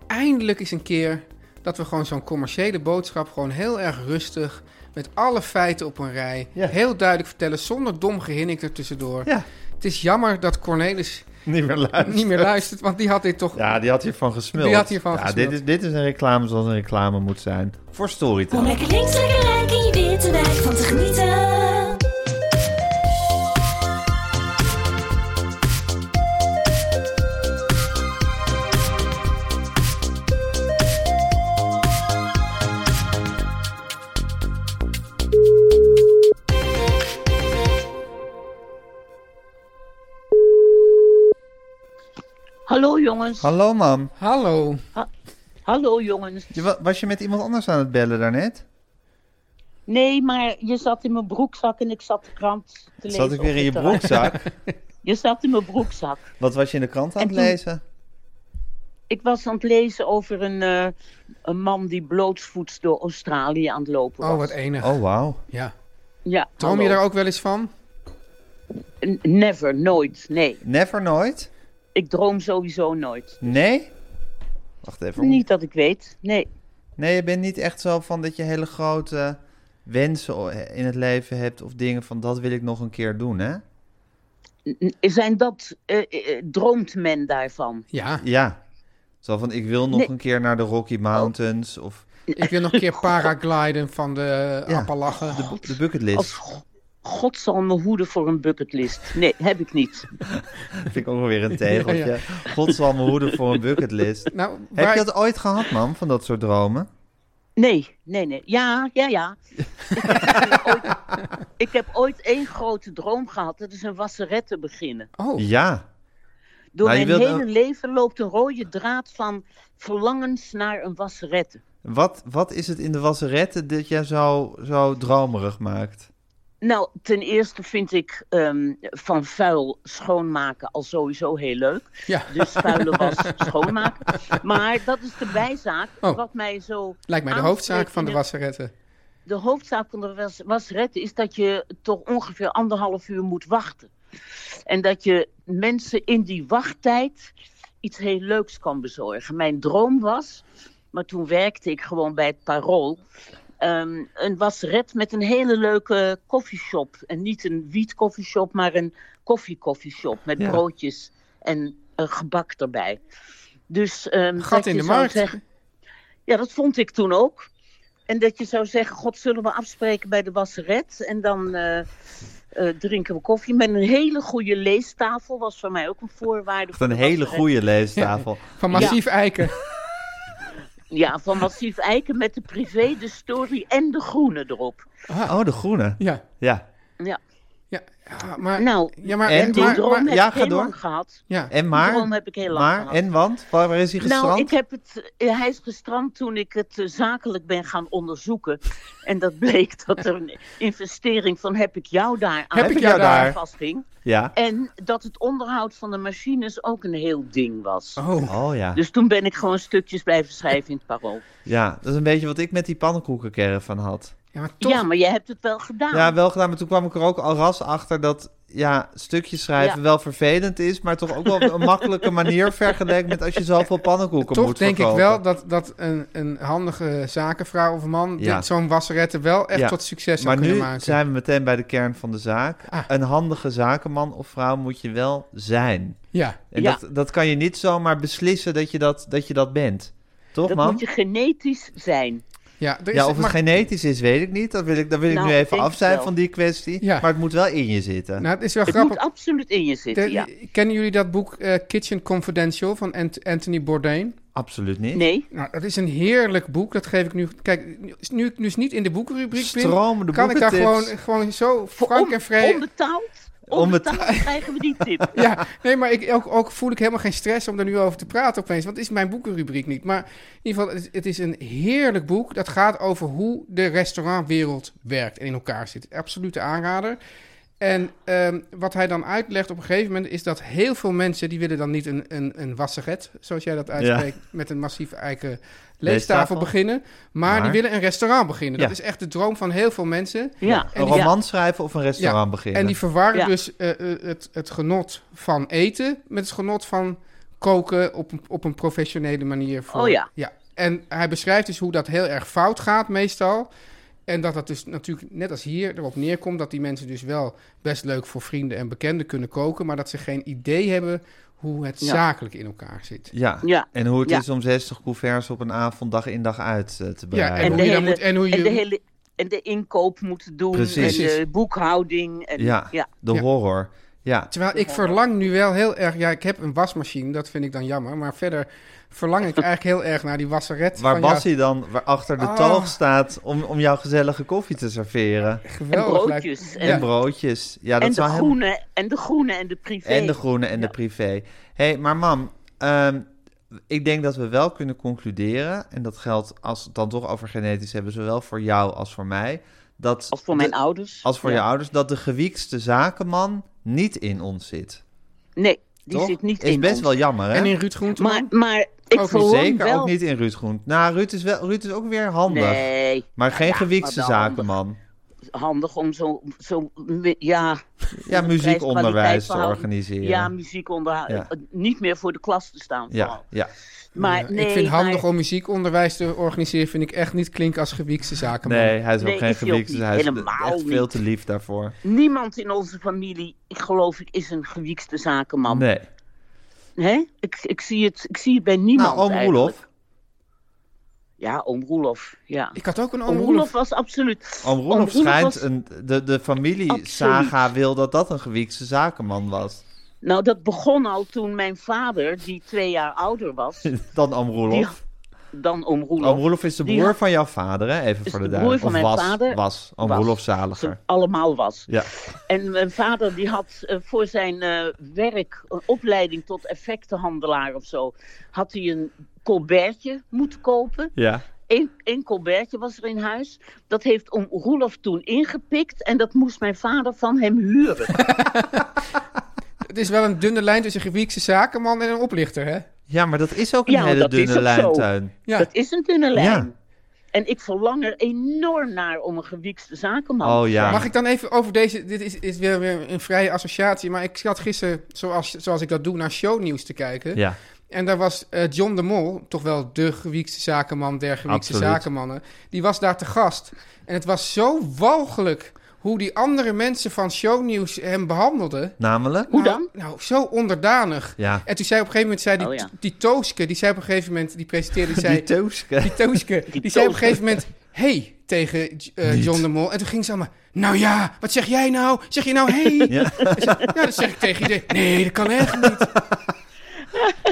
Speaker 2: eindelijk eens een keer dat we gewoon zo'n commerciële boodschap gewoon heel erg rustig, met alle feiten op een rij,
Speaker 1: Ja.
Speaker 2: heel duidelijk vertellen, zonder dom gehinnik er tussendoor.
Speaker 1: Ja,
Speaker 2: Het is jammer dat Cornelis
Speaker 1: niet meer luisteren.
Speaker 2: niet meer luistert, want die had dit toch...
Speaker 1: Ja, die had hiervan gesmuld.
Speaker 2: Die had hiervan
Speaker 1: ja,
Speaker 2: gesmuld.
Speaker 1: Dit is, dit is een reclame zoals een reclame moet zijn. Voor Storytel.
Speaker 4: Om lekker links, lekker rijk in je witte wijk van te genieten.
Speaker 5: Hallo jongens.
Speaker 1: Hallo, mam.
Speaker 2: Hallo.
Speaker 1: Oh,
Speaker 5: Hallo jongens.
Speaker 1: Je wa- was je met iemand anders aan het bellen daarnet?
Speaker 5: Nee, maar je zat in mijn broekzak en ik zat de krant te lezen.
Speaker 1: Zat ik weer
Speaker 5: op
Speaker 1: in je
Speaker 5: het terras.
Speaker 1: broekzak?
Speaker 5: Je zat in mijn broekzak.
Speaker 1: Wat was je in de krant aan
Speaker 5: En
Speaker 1: het
Speaker 5: toen-
Speaker 1: lezen?
Speaker 5: Ik was aan het lezen over een, eh, een man die blootsvoets door Australië aan het lopen was.
Speaker 2: Oh, wat enig.
Speaker 1: Oh, wauw.
Speaker 2: Ja.
Speaker 5: Ja,
Speaker 2: Droom je
Speaker 5: hallo.
Speaker 2: daar ook wel eens van?
Speaker 5: N- Never, nooit, nee.
Speaker 1: Never nooit?
Speaker 5: Ik droom sowieso nooit.
Speaker 1: Nee? Wacht even.
Speaker 5: Niet dat ik weet, nee.
Speaker 1: Nee, je bent niet echt zo van dat je hele grote wensen in het leven hebt of dingen van dat wil ik nog een keer doen, hè?
Speaker 5: Zijn dat, eh, eh, droomt men daarvan?
Speaker 2: Ja,
Speaker 1: Ja. Zo van ik wil nog
Speaker 5: Nee.
Speaker 1: een keer naar de Rocky Mountains of
Speaker 2: ik wil nog een keer paragliden van de eh,
Speaker 1: Ja.
Speaker 2: Appalachen.
Speaker 1: de, de bucketlist.
Speaker 5: Als go- God zal me hoeden voor een bucketlist. Nee, heb ik niet.
Speaker 1: Vind ik ook wel weer een tegeltje.
Speaker 2: Ja,
Speaker 1: God zal me hoeden voor een bucketlist.
Speaker 2: Nou,
Speaker 1: Heb
Speaker 2: waar-
Speaker 1: je dat ooit gehad, man, van dat soort dromen?
Speaker 5: Nee, nee, nee. Ja, ja, ja. ik, heb ooit, ik heb ooit één grote droom gehad. Dat is een wasseret te beginnen.
Speaker 2: Oh,
Speaker 1: Ja.
Speaker 5: Door
Speaker 1: Maar je
Speaker 5: mijn
Speaker 1: wilt
Speaker 5: hele
Speaker 1: een-
Speaker 5: leven loopt een rode draad van verlangens naar een wasserette.
Speaker 1: Wat, wat is het in de wasserette dat jij zo, zo dromerig maakt?
Speaker 5: Nou, ten eerste vind ik ehm, van vuil schoonmaken al sowieso heel leuk.
Speaker 2: ja,
Speaker 5: Dus vuile was schoonmaken. Maar dat is de bijzaak.
Speaker 2: Oh.
Speaker 5: Wat mij zo
Speaker 2: lijkt mij de
Speaker 5: aanspreekt
Speaker 2: hoofdzaak van
Speaker 5: in
Speaker 2: de
Speaker 5: het-
Speaker 2: wasseretten.
Speaker 5: de hoofdzaak van de was, wasretten is dat je toch ongeveer anderhalf uur moet wachten. En dat je mensen in die wachttijd iets heel leuks kan bezorgen. Mijn droom was, maar toen werkte ik gewoon bij het Parool. ehm, een wasret met een hele leuke koffieshop. En niet een wietkoffieshop, maar een koffiekoffieshop. Met
Speaker 1: Ja.
Speaker 5: broodjes en een gebak erbij. Dus, ehm,
Speaker 2: Gat
Speaker 5: dat
Speaker 2: in
Speaker 5: je
Speaker 2: de
Speaker 5: zou
Speaker 2: markt.
Speaker 5: zeggen- ja, dat vond ik toen ook. En dat je zou zeggen, god, zullen we afspreken bij de wasseret? En dan eh, eh, drinken we koffie. Met een hele goede leestafel was voor mij ook een voorwaarde.
Speaker 1: Echt
Speaker 5: voor
Speaker 1: een
Speaker 5: de
Speaker 1: hele
Speaker 5: wasseret.
Speaker 1: goede leestafel.
Speaker 2: Van massief eiken.
Speaker 5: Ja, van Massief Eiken met de privé, de story en de groene erop.
Speaker 1: Oh, de groene.
Speaker 2: Ja,
Speaker 1: Ja.
Speaker 5: Ja.
Speaker 2: ja. ja maar,
Speaker 5: Nou,
Speaker 2: ja, maar,
Speaker 1: en
Speaker 5: die
Speaker 2: maar-
Speaker 5: droom
Speaker 2: maar-
Speaker 5: heb
Speaker 1: ja,
Speaker 5: ik
Speaker 1: ga
Speaker 5: heel
Speaker 1: door.
Speaker 5: lang gehad.
Speaker 2: ja.
Speaker 1: En
Speaker 5: Die droom
Speaker 1: maar?
Speaker 5: heb ik heel lang
Speaker 1: Maar,
Speaker 5: gehad.
Speaker 1: en want? Waar waar is hij gestrand?
Speaker 5: Nou, ik heb het, eh, hij is gestrand toen ik het eh, zakelijk ben gaan onderzoeken. En dat bleek dat er een investering van heb ik jou daar aan
Speaker 2: Heb ik jou daar?
Speaker 5: vastging.
Speaker 1: Ja.
Speaker 5: En dat het onderhoud van de machines ook een heel ding was.
Speaker 2: Oh,
Speaker 1: Oh ja.
Speaker 5: Dus toen ben ik gewoon stukjes blijven schrijven in het parool.
Speaker 1: Ja, dat is een beetje wat ik met die pannenkoekencaravan had.
Speaker 2: ja, maar toch.
Speaker 5: Ja, maar jij hebt het wel gedaan.
Speaker 1: Ja, wel gedaan, maar toen kwam ik er ook al ras achter dat ja, stukjes schrijven
Speaker 5: Ja.
Speaker 1: wel vervelend is, maar toch ook wel een makkelijke manier vergeleken met als je zoveel pannenkoeken
Speaker 2: Toch
Speaker 1: moet
Speaker 2: denk
Speaker 1: verkopen.
Speaker 2: ik wel dat, dat een, een handige zakenvrouw of man
Speaker 1: Ja.
Speaker 2: dit- zo'n wasseretten wel echt
Speaker 1: Ja.
Speaker 2: tot succes zou
Speaker 1: Maar
Speaker 2: kunnen
Speaker 1: nu
Speaker 2: maken.
Speaker 1: zijn we meteen bij de kern van de zaak.
Speaker 2: Ah.
Speaker 1: Een handige zakenman of vrouw moet je wel zijn.
Speaker 2: Ja,
Speaker 1: En
Speaker 5: Ja.
Speaker 1: dat, dat kan je niet zomaar beslissen dat je dat, dat, je dat bent. Toch,
Speaker 5: dat
Speaker 1: man?
Speaker 5: moet je genetisch zijn.
Speaker 2: ja, er is,
Speaker 1: Ja, of het
Speaker 2: maar-
Speaker 1: genetisch is, weet ik niet. Dat wil ik, dat wil ik
Speaker 5: Nou,
Speaker 1: nu
Speaker 5: ik
Speaker 1: even
Speaker 5: denk
Speaker 1: af zijn
Speaker 5: wel.
Speaker 1: van die kwestie.
Speaker 2: Ja.
Speaker 1: Maar het moet wel in je zitten.
Speaker 2: nou, het is wel
Speaker 5: Het
Speaker 2: grappig.
Speaker 5: moet absoluut in je zitten,
Speaker 2: De-
Speaker 5: ja.
Speaker 2: Kennen jullie dat boek eh, Kitchen Confidential van Ant- Anthony Bourdain?
Speaker 1: Absoluut niet.
Speaker 5: Nee,
Speaker 2: Nou, dat is een heerlijk boek. Dat geef ik nu. Kijk, nu- nu ik dus niet in de boekenrubriek ben,
Speaker 1: Stromende
Speaker 2: kan ik daar gewoon,
Speaker 1: boekentips.
Speaker 2: gewoon zo frank
Speaker 5: on-
Speaker 2: en vrij.
Speaker 5: onbetaald,
Speaker 1: Onbetaald.
Speaker 5: onbetaald krijgen we die tip.
Speaker 2: Ja, nee, maar ik, ook, ook voel ik helemaal geen stress om daar nu over te praten opeens. Want het is mijn boekenrubriek niet. Maar in ieder geval, het, het is een heerlijk boek. Dat gaat over hoe de restaurantwereld werkt en in elkaar zit. Absolute aanrader. En ehm, wat hij dan uitlegt op een gegeven moment is dat heel veel mensen... die willen dan niet een, een, een wasseret, zoals jij dat uitspreekt... met een massief eiken leestafel
Speaker 1: Leestafel.
Speaker 2: beginnen. Maar,
Speaker 1: Maar-
Speaker 2: die willen een restaurant beginnen.
Speaker 1: Ja.
Speaker 2: Dat is echt de droom van heel veel mensen.
Speaker 5: Ja,
Speaker 1: Een
Speaker 5: ja.
Speaker 1: roman schrijven of een restaurant
Speaker 2: Ja,
Speaker 1: beginnen.
Speaker 2: En die verwarren
Speaker 5: Ja.
Speaker 2: dus eh, eh, het, het genot van eten met het genot van koken op een, op een professionele manier. Voor,
Speaker 5: Oh ja.
Speaker 2: ja. En hij beschrijft dus hoe dat heel erg fout gaat meestal. En dat dat dus natuurlijk net als hier erop neerkomt dat die mensen dus wel best leuk voor vrienden en bekenden kunnen koken, maar dat ze geen idee hebben hoe het
Speaker 5: Ja.
Speaker 2: zakelijk in elkaar zit.
Speaker 1: Ja.
Speaker 5: Ja.
Speaker 1: En hoe het
Speaker 5: Ja.
Speaker 1: is om 60 couverts op een avond dag in dag uit eh, te bereiden.
Speaker 2: en
Speaker 5: En
Speaker 2: hoe
Speaker 5: de,
Speaker 2: je dan
Speaker 5: hele,
Speaker 2: moet- en hoe je-
Speaker 5: en de hele en de inkoop moeten doen
Speaker 1: Precies.
Speaker 5: en de boekhouding en
Speaker 1: ja,
Speaker 5: ja.
Speaker 1: de
Speaker 2: Ja.
Speaker 1: horror. Ja.
Speaker 2: Terwijl ik verlang nu wel heel erg. Ja, ik heb een wasmachine, dat vind ik dan jammer. Maar verder verlang ik eigenlijk heel erg naar die wasseret.
Speaker 1: Waar
Speaker 2: van, ja,
Speaker 1: Bas hij dan waar achter de
Speaker 2: Ah.
Speaker 1: toog staat om, om jouw gezellige koffie te serveren.
Speaker 5: en
Speaker 2: geweldig lijkt.
Speaker 5: broodjes en,
Speaker 2: Ja.
Speaker 1: En broodjes. Ja, dat
Speaker 5: en de
Speaker 1: zou hem...
Speaker 5: groene en de groene en de privé.
Speaker 1: En de groene en de privé. hey, maar mam, ehm, ik denk dat we wel kunnen concluderen... en dat geldt als we het dan toch over genetisch hebben... zowel voor jou als voor mij... Dat
Speaker 5: als voor
Speaker 1: de-
Speaker 5: mijn ouders.
Speaker 1: als voor
Speaker 5: Ja.
Speaker 1: je ouders... dat de gewiekste zakenman niet in ons zit.
Speaker 5: Nee, die
Speaker 1: toch?
Speaker 5: zit niet
Speaker 1: is
Speaker 5: in
Speaker 1: best
Speaker 5: ons.
Speaker 1: wel jammer, hè?
Speaker 2: En in Ruud Groenteman?
Speaker 5: Maar, maar ik
Speaker 2: niet.
Speaker 5: verlang
Speaker 1: Zeker
Speaker 5: wel...
Speaker 1: ook niet in Ruud Groen. Nou, Ruud is, wel, Ruud is ook weer handig.
Speaker 5: Nee.
Speaker 1: Maar geen
Speaker 5: ja,
Speaker 1: gewiekste
Speaker 5: maar wel
Speaker 1: zakenman.
Speaker 5: handig om zo, zo me- ja,
Speaker 1: Ja, muziekonderwijs te
Speaker 5: kwaliteitsverhouding.
Speaker 1: organiseren.
Speaker 5: ja. muziek onder, eh,
Speaker 1: Ja.
Speaker 5: niet meer voor de klas te staan.
Speaker 1: ja,
Speaker 5: vooral.
Speaker 1: ja.
Speaker 5: Maar
Speaker 2: Ja,
Speaker 5: nee,
Speaker 2: ik vind
Speaker 5: maar-
Speaker 2: handig om muziekonderwijs te organiseren, vind ik echt niet klinken als gewiekste zaken.
Speaker 1: Nee, hij is
Speaker 5: Nee,
Speaker 1: ook geen
Speaker 5: is hij ook
Speaker 1: gebied.
Speaker 5: niet.
Speaker 1: hij is
Speaker 5: Helemaal
Speaker 1: echt
Speaker 5: niet.
Speaker 1: veel te lief daarvoor.
Speaker 5: Niemand in onze familie, ik geloof ik, is een gewiekste zakenman.
Speaker 1: Nee.
Speaker 5: Hè? Ik, ik, zie het, ik zie het bij niemand.
Speaker 1: nou, oom
Speaker 5: eigenlijk.
Speaker 1: Roelof.
Speaker 5: Ja, oom Roelof. Ja.
Speaker 2: Ik had ook een
Speaker 5: Oom
Speaker 2: oom
Speaker 5: Roelof
Speaker 2: Roelof.
Speaker 5: was absoluut.
Speaker 1: Oom Roelof
Speaker 5: was-
Speaker 1: schijnt een... De, de familie
Speaker 5: Absoluut.
Speaker 1: saga wil dat dat een gewiekse zakenman was.
Speaker 5: Nou, dat begon al toen mijn vader, die twee jaar ouder was
Speaker 1: Dan Oom Roelof.
Speaker 5: dan oom Roelof.
Speaker 1: Oom Roelof is de
Speaker 5: Die-
Speaker 1: broer van jouw vader, hè? Even
Speaker 5: Is
Speaker 1: voor
Speaker 5: de
Speaker 1: de
Speaker 5: broer
Speaker 1: duidelijkheid.
Speaker 5: van
Speaker 1: Of
Speaker 5: mijn
Speaker 1: was,
Speaker 5: vader.
Speaker 1: was. Oom
Speaker 5: Was.
Speaker 1: Roelof
Speaker 5: Ze
Speaker 1: Zaliger.
Speaker 5: allemaal was.
Speaker 1: Ja.
Speaker 5: En mijn vader die had eh, voor zijn eh, werk een opleiding tot effectenhandelaar of zo. Had hij een colbertje moeten kopen.
Speaker 1: Ja.
Speaker 5: Eén één colbertje was er in huis. Dat heeft om Roelof toen ingepikt. En dat moest mijn vader van hem huren.
Speaker 2: Het is wel een dunne lijn tussen gewiekste zakenman en een oplichter, hè?
Speaker 1: Ja, maar dat is ook een
Speaker 5: Ja, maar
Speaker 1: hele
Speaker 5: dat is
Speaker 1: dunne
Speaker 5: ook
Speaker 1: lijn,
Speaker 5: zo.
Speaker 1: Teun.
Speaker 2: Ja.
Speaker 5: Dat is een dunne lijn.
Speaker 1: Ja.
Speaker 5: En ik verlang er enorm naar om een gewiekste zakenman
Speaker 1: Oh
Speaker 5: te
Speaker 1: ja.
Speaker 5: zijn.
Speaker 2: Mag ik dan even over deze... Dit is, is weer, weer een vrije associatie, maar ik zat gisteren, zoals, zoals ik dat doe, naar shownieuws te kijken.
Speaker 1: Ja.
Speaker 2: En daar was eh, John de Mol, toch wel de gewiekste zakenman der gewiekste
Speaker 1: Absoluut.
Speaker 2: zakenmannen. Die was daar te gast. En het was zo walgelijk hoe die andere mensen van shownieuws hem behandelden.
Speaker 1: Namelijk?
Speaker 5: Hoe
Speaker 2: Nou,
Speaker 5: dan?
Speaker 2: Nou, zo onderdanig.
Speaker 1: Ja.
Speaker 2: En toen zei op een gegeven moment, zei die,
Speaker 5: Oh, ja.
Speaker 2: die Tooske, die zei op een gegeven moment, die presenteerde, die zei...
Speaker 1: Die Tooske.
Speaker 2: Die Tooske, die, zei op een gegeven moment... hey, tegen eh,
Speaker 1: Niet.
Speaker 2: John de Mol. En toen ging ze allemaal... Nou ja, wat zeg jij nou? Zeg je nou hey? Ja,
Speaker 1: Ja.
Speaker 2: dat zeg ik tegen iedereen. Nee, dat kan echt niet.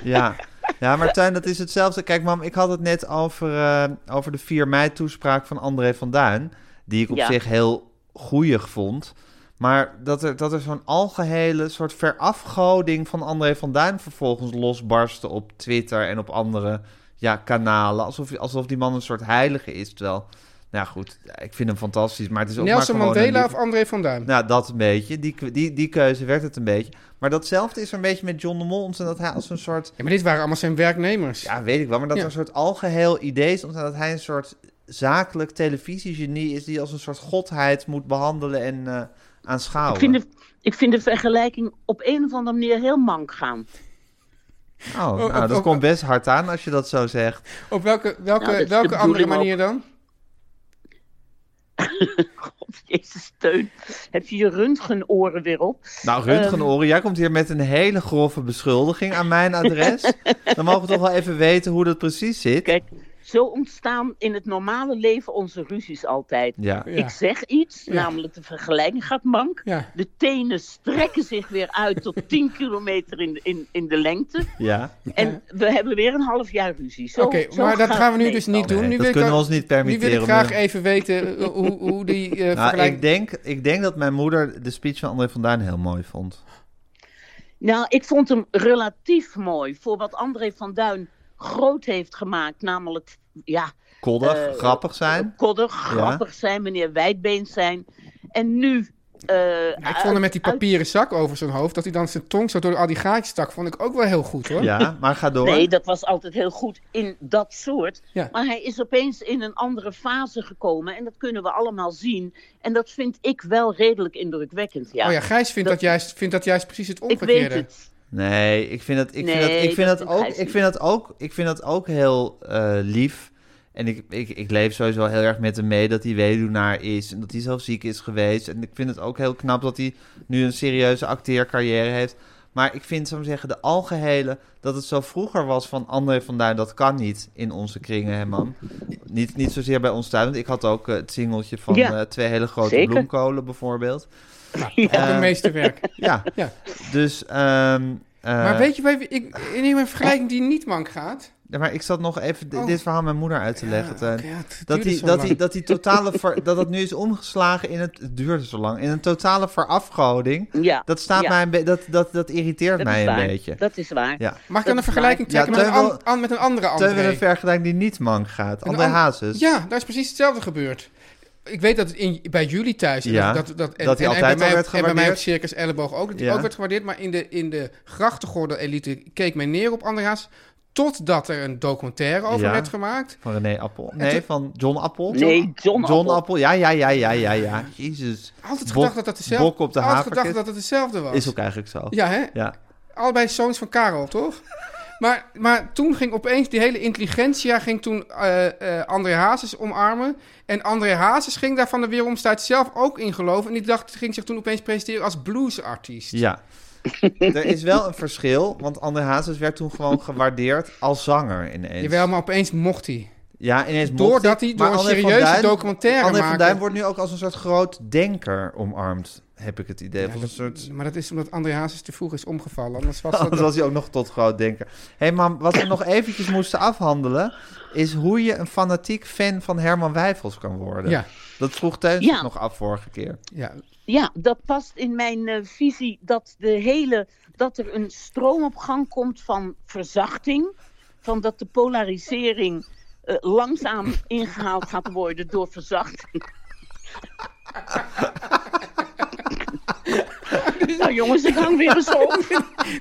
Speaker 1: Ja. ja, maar Tuin, dat is hetzelfde. Kijk, mam, ik had het net over, eh, over de 4 mei-toespraak van André van Duin. Die ik op
Speaker 5: Ja.
Speaker 1: zich heel goeig vond. Maar dat er, dat er zo'n algehele soort verafgoding van André van Duin vervolgens losbarstte op Twitter en op andere ja, kanalen. Alsof, alsof die man een soort heilige is. Terwijl, nou ja, goed, ja, ik vind hem fantastisch. Maar het is ook
Speaker 2: Nelson
Speaker 1: maar gewoon een
Speaker 2: Mandela
Speaker 1: lief-
Speaker 2: of André van Duin?
Speaker 1: nou, dat een beetje. Die, die, die keuze werd het een beetje. Maar datzelfde is er een beetje met John de Mol. Omdat dat hij als een soort...
Speaker 2: Ja, maar dit waren allemaal zijn werknemers.
Speaker 1: Ja, weet ik wel. Maar dat
Speaker 2: Ja.
Speaker 1: er een soort algeheel idee is. Omdat hij een soort zakelijk televisiegenie is. Die als een soort godheid moet behandelen en eh aanschouwen.
Speaker 5: Ik vind, de, ik vind de vergelijking op een of andere manier heel mank gaan.
Speaker 1: Oh, nou,
Speaker 2: oh,
Speaker 1: dat
Speaker 2: oh.
Speaker 1: komt best hard aan als je dat zo zegt.
Speaker 2: Op welke, welke,
Speaker 5: Nou, dat is de
Speaker 2: welke andere
Speaker 5: bedoeling ook.
Speaker 2: manier dan?
Speaker 5: God, jezus, steun. Heb je je röntgenoren weer op?
Speaker 1: Nou,
Speaker 5: Ehm.
Speaker 1: Röntgenoren, jij komt hier met een hele grove beschuldiging aan mijn adres. Dan mogen we toch wel even weten hoe dat precies zit.
Speaker 5: Kijk, zo ontstaan in het normale leven onze ruzies altijd.
Speaker 1: Ja,
Speaker 2: Ja.
Speaker 5: Ik zeg iets,
Speaker 2: Ja.
Speaker 5: namelijk de vergelijking gaat mank.
Speaker 2: Ja.
Speaker 5: De tenen strekken zich weer uit tot 10 kilometer in, in, in de lengte.
Speaker 1: ja.
Speaker 5: En we hebben weer een half jaar ruzie. Zo-
Speaker 2: Oké,
Speaker 5: zo
Speaker 2: maar dat
Speaker 5: gaat
Speaker 2: gaan we nu
Speaker 5: het
Speaker 2: dus
Speaker 5: meestal.
Speaker 2: niet doen.
Speaker 1: Nee,
Speaker 2: nu
Speaker 1: dat
Speaker 2: wil ik
Speaker 1: kunnen we
Speaker 2: ook-
Speaker 1: ons niet
Speaker 2: Nu
Speaker 1: permitteren.
Speaker 2: wil ik graag
Speaker 1: maar-
Speaker 2: even weten eh, hoe, hoe die eh
Speaker 1: Nou,
Speaker 2: vergelijking...
Speaker 1: ik, denk, ik denk dat mijn moeder de speech van André van Duin heel mooi vond.
Speaker 5: Nou, ik vond hem relatief mooi voor wat André van Duin groot heeft gemaakt. Namelijk, ja,
Speaker 1: Koddig,
Speaker 5: Eh,
Speaker 1: grappig zijn.
Speaker 5: koddig, grappig zijn, meneer Wijdbeens zijn. En nu... eh,
Speaker 2: Ja, ik vond hem met die papieren zak over zijn hoofd, dat hij dan zijn tong zo door al die gaatjes stak, vond ik ook wel heel goed hoor.
Speaker 1: Ja, maar ga door.
Speaker 5: eh, Nee, dat was altijd heel goed in dat soort.
Speaker 2: Ja.
Speaker 5: Maar hij is opeens in een andere fase gekomen. En dat kunnen we allemaal zien. En dat vind ik wel redelijk indrukwekkend. Ja.
Speaker 2: Oh ja, Gijs vindt dat,
Speaker 5: Dat-
Speaker 2: juist, vindt dat juist precies het
Speaker 5: ik weet
Speaker 2: omgekeerde.
Speaker 5: het.
Speaker 1: Nee, ik vind dat, ik vind
Speaker 5: Nee,
Speaker 1: dat, ik vind
Speaker 5: dat
Speaker 1: dat,
Speaker 5: doet
Speaker 1: ook,
Speaker 5: hij
Speaker 1: ik vind dat ook, ik vind dat ook heel eh, lief. En ik, ik, ik leef sowieso heel erg met hem mee dat hij weduwnaar is en dat hij zelf ziek is geweest. En ik vind het ook heel knap dat hij nu een serieuze acteercarrière heeft. Maar ik vind, zou ik zeggen, de algehele, dat het zo vroeger was van André van Duin, dat kan niet in onze kringen, hè man. Niet, niet zozeer bij ons thuis, want ik had ook eh, het singeltje van
Speaker 5: Ja.
Speaker 1: eh, twee hele grote
Speaker 5: Zeker.
Speaker 1: bloemkolen bijvoorbeeld.
Speaker 2: Ook een meesterwerk.
Speaker 1: Ja,
Speaker 2: Ja.
Speaker 1: dus... ehm,
Speaker 2: maar
Speaker 1: eh,
Speaker 2: weet je, bij wie- ik, in een vergelijking die niet mank gaat. Ah,
Speaker 1: Ja, maar ik zat nog even di-
Speaker 2: Oh.
Speaker 1: dit verhaal mijn moeder uit te leggen.
Speaker 2: Ja,
Speaker 1: Teun.
Speaker 2: oké, ja, het
Speaker 1: eh, dat,
Speaker 2: duurde
Speaker 1: die,
Speaker 2: zo
Speaker 1: dat,
Speaker 2: lang.
Speaker 1: die, dat die totale ver- dat dat nu is omgeslagen in het, het duurde zo lang in een totale verafgoding.
Speaker 5: Ja.
Speaker 1: Dat staat
Speaker 5: ja,
Speaker 1: mij een be- dat, dat, dat irriteert
Speaker 5: dat is
Speaker 1: mij een
Speaker 5: waar.
Speaker 1: beetje.
Speaker 5: Dat is waar.
Speaker 1: Ja.
Speaker 2: Mag ik dan een
Speaker 5: dat-
Speaker 2: vergelijking
Speaker 5: Ja,
Speaker 2: trekken met,
Speaker 1: Teun
Speaker 2: een
Speaker 1: wil-
Speaker 2: an- an- met een andere
Speaker 1: Teun wil een
Speaker 2: André?
Speaker 1: vergelijking die niet mank gaat. André
Speaker 2: an-
Speaker 1: Hazes.
Speaker 2: Ja, daar is precies hetzelfde gebeurd. Ik weet dat het in, bij jullie thuis en
Speaker 1: Ja,
Speaker 2: dat, dat, en,
Speaker 1: dat hij
Speaker 2: en- en
Speaker 1: altijd al
Speaker 2: bij mij,
Speaker 1: werd
Speaker 2: op- en bij mij op
Speaker 1: gewaardeerd.
Speaker 2: Circus Elleboog ook, dat hij
Speaker 1: Ja.
Speaker 2: ook werd gewaardeerd. Maar in de, in de grachtengordel elite keek men neer op André Haas. Totdat er een documentaire over
Speaker 1: Ja.
Speaker 2: werd gemaakt.
Speaker 1: Van René Appel. Nee,
Speaker 2: toen-
Speaker 1: van John Appel.
Speaker 5: Nee,
Speaker 1: John
Speaker 5: John, Appel.
Speaker 1: Appel. Ja, ja, ja, ja, ja, ja. Jezus.
Speaker 2: Altijd
Speaker 1: Bok-
Speaker 2: gedacht dat dat dezelfde,
Speaker 1: Bok op de
Speaker 2: altijd
Speaker 1: haverkist.
Speaker 2: gedacht dat het hetzelfde was.
Speaker 1: Is ook eigenlijk zo.
Speaker 2: Ja, hè?
Speaker 1: Ja.
Speaker 2: Allebei zoons van Karel, toch? Maar, maar toen ging opeens die hele intelligentia ging toen, eh, eh, André Hazes omarmen. En André Hazes ging daar van de weeromstuit zelf ook in geloven. En die dacht, ging zich toen opeens presenteren als bluesartiest.
Speaker 1: Ja. er is wel een verschil, want André Hazes werd toen gewoon gewaardeerd als zanger ineens.
Speaker 2: Jawel, maar opeens mocht hij.
Speaker 1: Ja, ineens mocht
Speaker 2: Doordat hij door
Speaker 1: maar
Speaker 2: een
Speaker 1: André van
Speaker 2: serieuze
Speaker 1: Duin-
Speaker 2: documentaire
Speaker 1: André van
Speaker 2: maakte.
Speaker 1: Duin wordt nu ook als een soort groot denker omarmd, heb ik het idee. Of een soort...
Speaker 2: Maar dat is omdat André Hazes te vroeg is omgevallen. Anders was dat...
Speaker 1: Anders was hij ook nog tot groot denker. Hé, hey, maar wat we nog eventjes moesten afhandelen... is hoe je een fanatiek fan van Herman Wijfels kan worden.
Speaker 2: Ja.
Speaker 1: Dat vroeg Teun
Speaker 5: Ja.
Speaker 1: zich nog af vorige keer.
Speaker 2: Ja,
Speaker 5: Ja, dat past in mijn eh, visie dat de hele dat er een stroom op gang komt van verzachting, van dat de polarisering eh, langzaam ingehaald gaat worden door verzachting. nou jongens, ik hang weer eens om.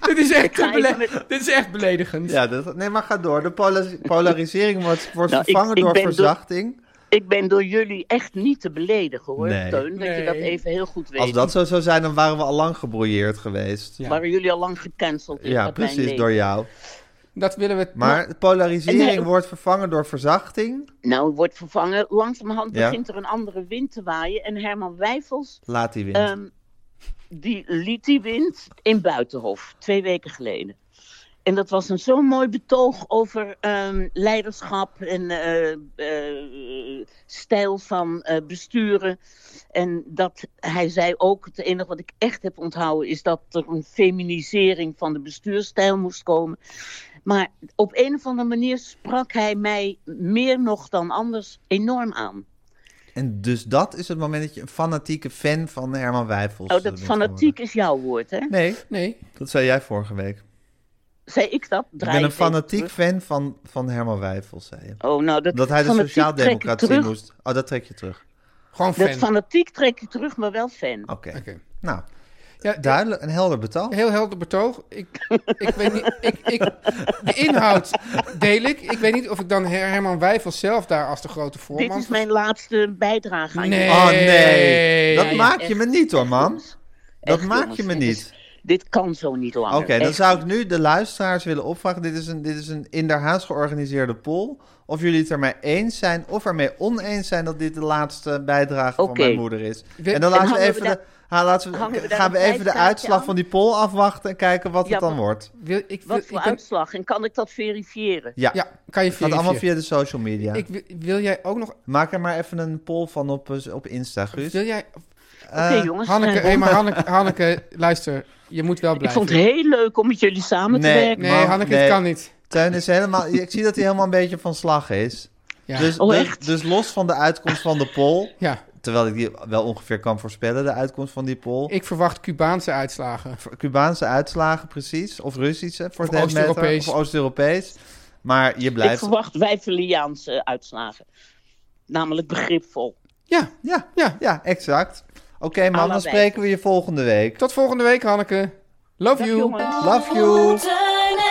Speaker 2: dit, is echt
Speaker 5: ga
Speaker 2: te bele-
Speaker 5: even met-
Speaker 2: dit is echt beledigend.
Speaker 1: Ja, dat, nee, maar ga door. De pola- polarisering wordt, wordt
Speaker 5: Nou, ik-
Speaker 1: vervangen
Speaker 5: ik
Speaker 1: door
Speaker 5: ben door-
Speaker 1: verzachting.
Speaker 5: Ik ben door jullie echt niet te beledigen hoor,
Speaker 1: Nee.
Speaker 5: Teun, dat je dat
Speaker 2: Nee.
Speaker 5: even heel goed weet.
Speaker 1: Als dat zo zou zijn, dan waren we al lang gebrouilleerd geweest. Ja,
Speaker 5: Waren jullie al lang gecanceld? in dat mijn
Speaker 1: precies,
Speaker 5: leven.
Speaker 1: door jou.
Speaker 2: Dat willen we...
Speaker 1: Maar de polarisering
Speaker 5: En eh, hij-
Speaker 1: wordt vervangen door verzachting.
Speaker 5: Nou, wordt vervangen. Langzamerhand
Speaker 1: Ja.
Speaker 5: begint er een andere wind te waaien. En Herman Wijfels,
Speaker 1: Laat die wind.
Speaker 5: ehm, die liet die wind in Buitenhof, twee weken geleden. En dat was een zo'n mooi betoog over ehm, leiderschap en eh, eh, stijl van eh, besturen. En dat hij zei ook, het enige wat ik echt heb onthouden is dat er een feminisering van de bestuurstijl moest komen. Maar op een of andere manier sprak hij mij meer nog dan anders enorm aan.
Speaker 1: En dus dat is het moment dat je een fanatieke fan van Herman Wijfels
Speaker 5: Oh,
Speaker 1: bent
Speaker 5: dat fanatiek
Speaker 1: geworden.
Speaker 5: is jouw woord, hè?
Speaker 1: Nee,
Speaker 2: Nee.
Speaker 1: dat zei jij vorige week.
Speaker 5: Zei ik dat?
Speaker 1: Ik
Speaker 5: Draai
Speaker 1: ben een
Speaker 5: het even
Speaker 1: fanatiek
Speaker 5: terug.
Speaker 1: fan van, van Herman Wijfels, zei je.
Speaker 5: Oh, nou, dat,
Speaker 1: Dat hij de
Speaker 5: fanatiek
Speaker 1: sociaaldemocratie
Speaker 5: trek ik terug.
Speaker 1: moest... Oh, dat trek je terug.
Speaker 2: Gewoon fan.
Speaker 5: Dat fanatiek trek je terug, maar wel fan.
Speaker 1: Oké.
Speaker 2: Oké.
Speaker 1: Nou,
Speaker 2: Ja,
Speaker 1: duidelijk en helder betaald.
Speaker 2: Heel helder betoog. Ik, ik weet niet, ik, ik, de inhoud deel ik. Ik weet niet of ik dan Her- Herman Wijfels zelf daar als de grote voorman...
Speaker 5: Dit is mijn laatste bijdrage aan
Speaker 2: Nee.
Speaker 5: jullie.
Speaker 1: Oh nee,
Speaker 2: Hey.
Speaker 1: dat maak Oh, je
Speaker 5: echt,
Speaker 1: me niet hoor, man.
Speaker 5: jongens.
Speaker 1: Dat
Speaker 5: Echt,
Speaker 1: maak
Speaker 5: jongens,
Speaker 1: je me
Speaker 5: dit
Speaker 1: niet.
Speaker 5: is- dit kan zo niet langer.
Speaker 1: Oké, dan
Speaker 5: Echt.
Speaker 1: zou ik nu de luisteraars willen opvragen. Dit is een, dit is een in der Haas georganiseerde poll. Of jullie het ermee eens zijn of ermee oneens zijn dat dit de laatste bijdrage
Speaker 5: Oké.
Speaker 1: van mijn moeder is.
Speaker 2: We-
Speaker 1: en dan
Speaker 5: En
Speaker 1: laten we
Speaker 5: hangen
Speaker 1: even
Speaker 5: we
Speaker 1: de, ha, laten we,
Speaker 5: hangen we daar
Speaker 1: gaan we
Speaker 5: een
Speaker 1: even de
Speaker 5: prijskaartje
Speaker 1: uitslag
Speaker 5: aan?
Speaker 1: van die poll afwachten en kijken wat
Speaker 5: Ja,
Speaker 1: het dan
Speaker 5: maar-
Speaker 1: wordt.
Speaker 2: Wil, ik, wil,
Speaker 5: Wat voor
Speaker 2: ik ben-
Speaker 5: uitslag? En kan ik dat verifiëren?
Speaker 1: Ja, het
Speaker 2: Ja, kan je
Speaker 1: gaat allemaal
Speaker 2: verifiëren.
Speaker 1: via de social media.
Speaker 2: Ik wil, wil jij ook nog...
Speaker 1: Maak er maar even een poll van op, eh, op Insta, Guus.
Speaker 2: Wil jij...
Speaker 5: Oké,
Speaker 1: Eh,
Speaker 5: jongens.
Speaker 2: Hanneke,
Speaker 5: eh,
Speaker 2: hey, maar Hanneke, Hanneke, luister. Je moet wel
Speaker 5: ik
Speaker 2: blijven.
Speaker 5: vond het heel leuk om met jullie samen
Speaker 1: Nee.
Speaker 5: te werken.
Speaker 2: Nee,
Speaker 1: Man,
Speaker 2: Hanneke,
Speaker 1: nee.
Speaker 2: het kan niet.
Speaker 1: Teun is helemaal... Ik zie dat hij helemaal een beetje van slag is.
Speaker 2: Ja.
Speaker 1: Dus,
Speaker 5: Oh,
Speaker 1: dus,
Speaker 5: echt?
Speaker 1: dus los van de uitkomst van de poll...
Speaker 2: ja,
Speaker 1: Terwijl ik die wel ongeveer kan voorspellen, de uitkomst van die poll.
Speaker 2: ik verwacht Cubaanse uitslagen.
Speaker 1: Cubaanse uitslagen, precies. Of Russische, voor dat matter,
Speaker 2: Oost-Europees.
Speaker 1: Of Oost-Europees. Maar je
Speaker 5: Ik
Speaker 1: blijft...
Speaker 5: verwacht wijfeliaanse eh, uitslagen. Namelijk begripvol.
Speaker 2: Ja,
Speaker 1: Ja,
Speaker 2: ja.
Speaker 1: ja, exact. Oké man, dan
Speaker 5: Allebei.
Speaker 1: spreken we je volgende week.
Speaker 2: Tot volgende week, Hanneke. Love
Speaker 5: Dag,
Speaker 2: you.
Speaker 5: jongens.
Speaker 1: Love you.
Speaker 4: Teun en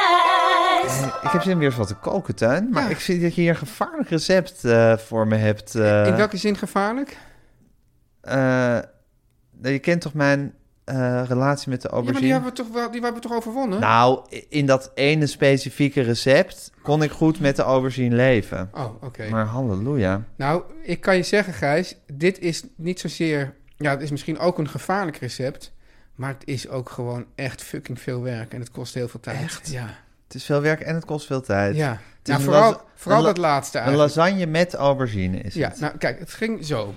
Speaker 4: Gijs.
Speaker 1: Ik heb zin om weer eens wat te koken, Tuin. Maar
Speaker 2: Ja.
Speaker 1: ik zie dat je hier een gevaarlijk recept eh, voor me hebt. eh.
Speaker 2: In welke zin gevaarlijk?
Speaker 1: eh, je kent toch mijn eh, relatie met de
Speaker 2: Ja, maar
Speaker 1: aubergine?
Speaker 2: die hebben we toch, wel, die hebben we toch overwonnen?
Speaker 1: Nou, in dat ene specifieke recept kon ik goed met de aubergine leven.
Speaker 2: Oh, oké.
Speaker 1: Maar halleluja.
Speaker 2: Nou, ik kan je zeggen, Gijs, dit is niet zozeer. Ja, het is misschien ook een gevaarlijk recept. Maar het is ook gewoon echt fucking veel werk. En het kost heel veel tijd. Echt? Ja.
Speaker 1: Het is veel werk en het kost veel tijd.
Speaker 2: ja.
Speaker 1: is
Speaker 2: Nou,
Speaker 1: een
Speaker 2: vooral,
Speaker 1: las-
Speaker 2: vooral
Speaker 1: een la-
Speaker 2: dat laatste
Speaker 1: Een
Speaker 2: eigenlijk.
Speaker 1: lasagne met aubergine is
Speaker 2: Ja,
Speaker 1: het.
Speaker 2: nou kijk, het ging zo.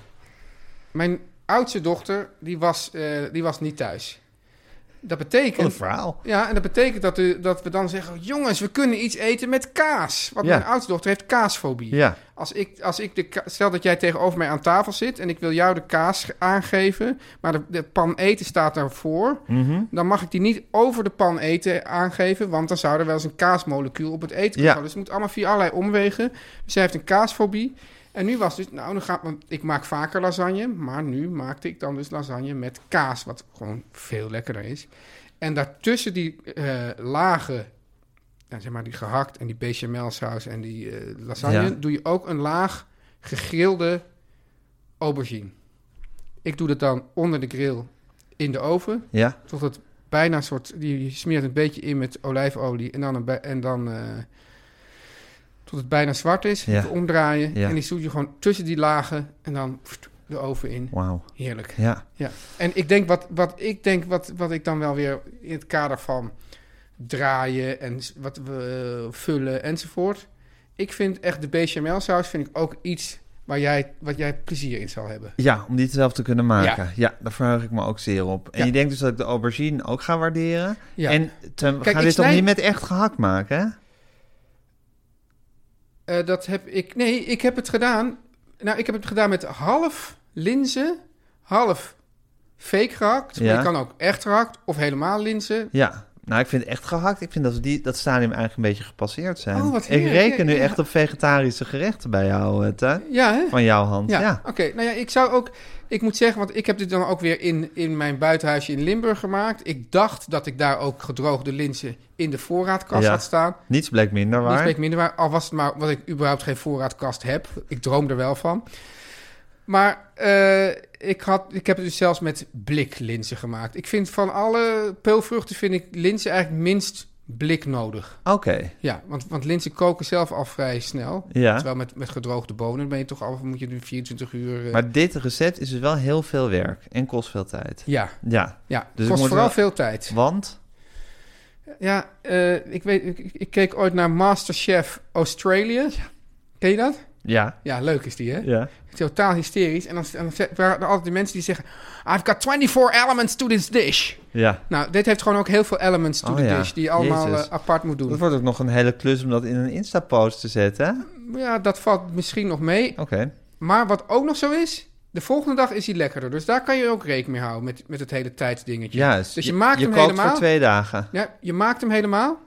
Speaker 2: Mijn oudste dochter, die was, eh, die was niet thuis. Dat
Speaker 1: Wat een
Speaker 2: betekent...
Speaker 1: verhaal.
Speaker 2: Ja, en dat betekent dat, u, dat we dan zeggen... "Oh, Jongens, we kunnen iets eten met kaas. Want
Speaker 1: Ja.
Speaker 2: mijn oudste dochter heeft kaasfobie.
Speaker 1: Ja,
Speaker 2: Als ik, als ik de ka- stel dat jij tegenover mij aan tafel zit en ik wil jou de kaas ge- aangeven, maar de, de pan eten staat daarvoor, dan mag ik die niet over de pan eten aangeven, want dan zou er wel eens een kaasmolecuul op het eten kunnen
Speaker 1: Ja.
Speaker 2: vallen. Dus het moet allemaal via allerlei omwegen. Dus zij heeft een kaasfobie. En nu was dus, nou, dan gaat, want ik maak vaker lasagne, maar nu maakte ik dan dus lasagne met kaas, wat gewoon veel lekkerder is. En daartussen die eh, lagen eh, nou, zeg maar, die gehakt en die bechamelsaus en die eh, lasagne,
Speaker 1: Ja.
Speaker 2: doe je ook een laag gegrilde aubergine. Ik doe dat dan onder de grill in de oven
Speaker 1: Ja,
Speaker 2: tot het bijna een soort. Die smeert een beetje in met olijfolie en dan. Een bij- en dan eh, tot het bijna zwart is.
Speaker 1: Ja.
Speaker 2: Even omdraaien.
Speaker 1: Ja.
Speaker 2: En die zoet je gewoon tussen die lagen en dan pst, de oven in.
Speaker 1: wauw.
Speaker 2: Heerlijk.
Speaker 1: Ja,
Speaker 2: Ja. En ik denk wat, wat ik denk wat, wat ik dan wel weer in het kader van draaien en s- wat we eh, vullen enzovoort. Ik vind echt de bechamel saus vind ik ook iets waar jij, wat jij plezier in zal hebben.
Speaker 1: ja om die zelf te kunnen maken. Ja, daar verheug ik me ook zeer op. En
Speaker 2: Ja.
Speaker 1: je denkt dus dat ik de aubergine ook ga waarderen.
Speaker 2: Ja.
Speaker 1: En Tim, we
Speaker 2: Kijk,
Speaker 1: gaan
Speaker 2: ik
Speaker 1: dit toch
Speaker 2: snij-
Speaker 1: niet met echt gehakt maken, hè?
Speaker 2: Eh, dat heb ik. Nee, ik heb het gedaan. Nou, ik heb het gedaan met half linzen, half fake gehakt. Maar
Speaker 1: Ja.
Speaker 2: je kan ook echt gehakt of helemaal linzen.
Speaker 1: Ja. Nou, ik vind echt gehakt. Ik vind dat we die, dat stadium eigenlijk een beetje gepasseerd zijn.
Speaker 2: Oh, wat
Speaker 1: ik
Speaker 2: heerlijk.
Speaker 1: reken nu
Speaker 2: Ja.
Speaker 1: echt op vegetarische gerechten bij jou, eh, Tuin.
Speaker 2: Ja, hè?
Speaker 1: Van jouw hand.
Speaker 2: Ja.
Speaker 1: Ja.
Speaker 2: Oké, nou ja, ik zou ook. Ik moet zeggen, want ik heb dit dan ook weer in, in mijn buitenhuisje in Limburg gemaakt. Ik dacht dat ik daar ook gedroogde linzen in de voorraadkast
Speaker 1: Ja.
Speaker 2: had staan.
Speaker 1: Niets bleek minder
Speaker 2: Niet
Speaker 1: waar.
Speaker 2: spreek minder waar. Al was het maar wat ik überhaupt geen voorraadkast heb. Ik droom er wel van. Maar eh, ik, had, ik heb het dus zelfs met bliklinzen gemaakt. Ik vind van alle peulvruchten vind ik linzen eigenlijk minst blik nodig.
Speaker 1: Oké.
Speaker 2: Ja, want, want linzen koken zelf al vrij snel.
Speaker 1: Ja.
Speaker 2: Terwijl met, met gedroogde bonen ben je toch al, moet je nu 24 uur... eh,
Speaker 1: Maar dit recept is dus wel heel veel werk en kost veel tijd.
Speaker 2: ja,
Speaker 1: Ja.
Speaker 2: ja.
Speaker 1: Dus ik
Speaker 2: kost
Speaker 1: moet
Speaker 2: vooral
Speaker 1: wel-
Speaker 2: veel tijd.
Speaker 1: Want?
Speaker 2: Ja, eh, ik, weet, ik, ik keek ooit naar Masterchef Australië. Ken je dat?
Speaker 1: Ja.
Speaker 2: Ja, leuk is die, hè?
Speaker 1: Ja.
Speaker 2: Totaal hysterisch. En dan, en dan ze- waren er altijd de mensen die zeggen... "Ah, I've got 24 elements to this dish.
Speaker 1: Ja.
Speaker 2: Nou, dit heeft gewoon ook heel veel elements to
Speaker 1: Oh
Speaker 2: the
Speaker 1: ja,
Speaker 2: dish... die je allemaal
Speaker 1: Jezus.
Speaker 2: eh, apart moet doen.
Speaker 1: Dat wordt ook nog een hele klus om dat in een Insta-post te zetten. hè?
Speaker 2: Ja, dat valt misschien nog mee.
Speaker 1: Oké.
Speaker 2: Maar wat ook nog zo is... de volgende dag is hij lekkerder. Dus daar kan je ook rekening mee houden... met, met het hele tijdsdingetje.
Speaker 1: Juist.
Speaker 2: Dus je maakt hem
Speaker 1: kookt
Speaker 2: helemaal.
Speaker 1: voor twee dagen.
Speaker 2: Ja, je maakt hem helemaal...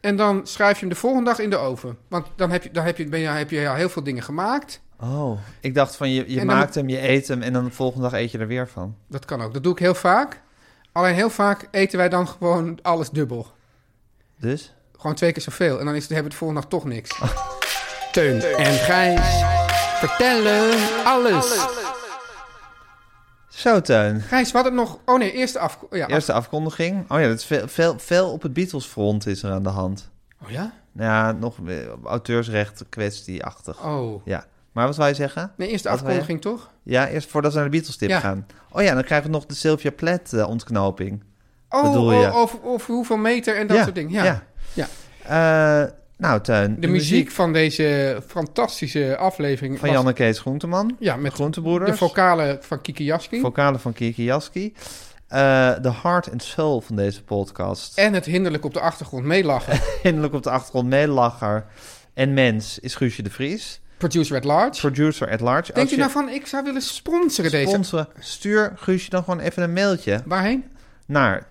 Speaker 2: En dan schrijf je hem de volgende dag in de oven. Want dan heb je, dan heb je, ben je, heb je al heel veel dingen gemaakt.
Speaker 1: Oh. Ik dacht van je, je
Speaker 2: En dan-
Speaker 1: maakt hem, je eet hem en dan de volgende dag eet je er weer van.
Speaker 2: Dat kan ook. Dat doe ik heel vaak. Alleen heel vaak eten wij dan gewoon alles dubbel.
Speaker 1: Dus?
Speaker 2: Gewoon twee keer zoveel. En dan is het, hebben we de volgende dag toch niks. Teun en Gijs vertellen alles.
Speaker 1: Zo, Teun.
Speaker 2: Gijs, we hadden nog... Oh nee, eerste af... Ja, af-
Speaker 1: Eerste afkondiging. Oh ja, dat is veel, veel, veel op het Beatles-front is er aan de hand.
Speaker 2: Oh ja?
Speaker 1: Nou ja, nog eh, auteursrecht kwestieachtig.
Speaker 2: Oh.
Speaker 1: Ja. Maar wat wou je zeggen?
Speaker 2: Nee, eerste
Speaker 1: Wat wil je?
Speaker 2: afkondiging toch?
Speaker 1: Ja, eerst voordat we naar de Beatles-tip
Speaker 2: Ja.
Speaker 1: gaan. Oh ja, dan krijgen we nog de Sylvia eh, Plath-ontknoping.
Speaker 2: Oh,
Speaker 1: Bedoel je?
Speaker 2: oh of, of hoeveel meter en dat soort dingen. Ja. Ja.
Speaker 1: Eh, nou, Tuin.
Speaker 2: De muziek van deze fantastische aflevering
Speaker 1: van
Speaker 2: was-
Speaker 1: Jan en Kees Groenteman.
Speaker 2: Ja, met
Speaker 1: Groentebroeders.
Speaker 2: de vocale van Kiki Jaski.
Speaker 1: vocalen van Kiki Jaski. Eh, De heart and soul van deze podcast.
Speaker 2: En het hinderlijk op de achtergrond meelachen.
Speaker 1: Eindelijk op de achtergrond meelacher en mens is Guusje de Vries.
Speaker 2: Producer at large.
Speaker 1: Producer at large.
Speaker 2: Denkt
Speaker 1: Als
Speaker 2: u
Speaker 1: je-
Speaker 2: nou van, ik zou willen sponsoren deze?
Speaker 1: sponsoren. Stuur Guusje dan gewoon even een mailtje
Speaker 2: Waarheen?
Speaker 1: naar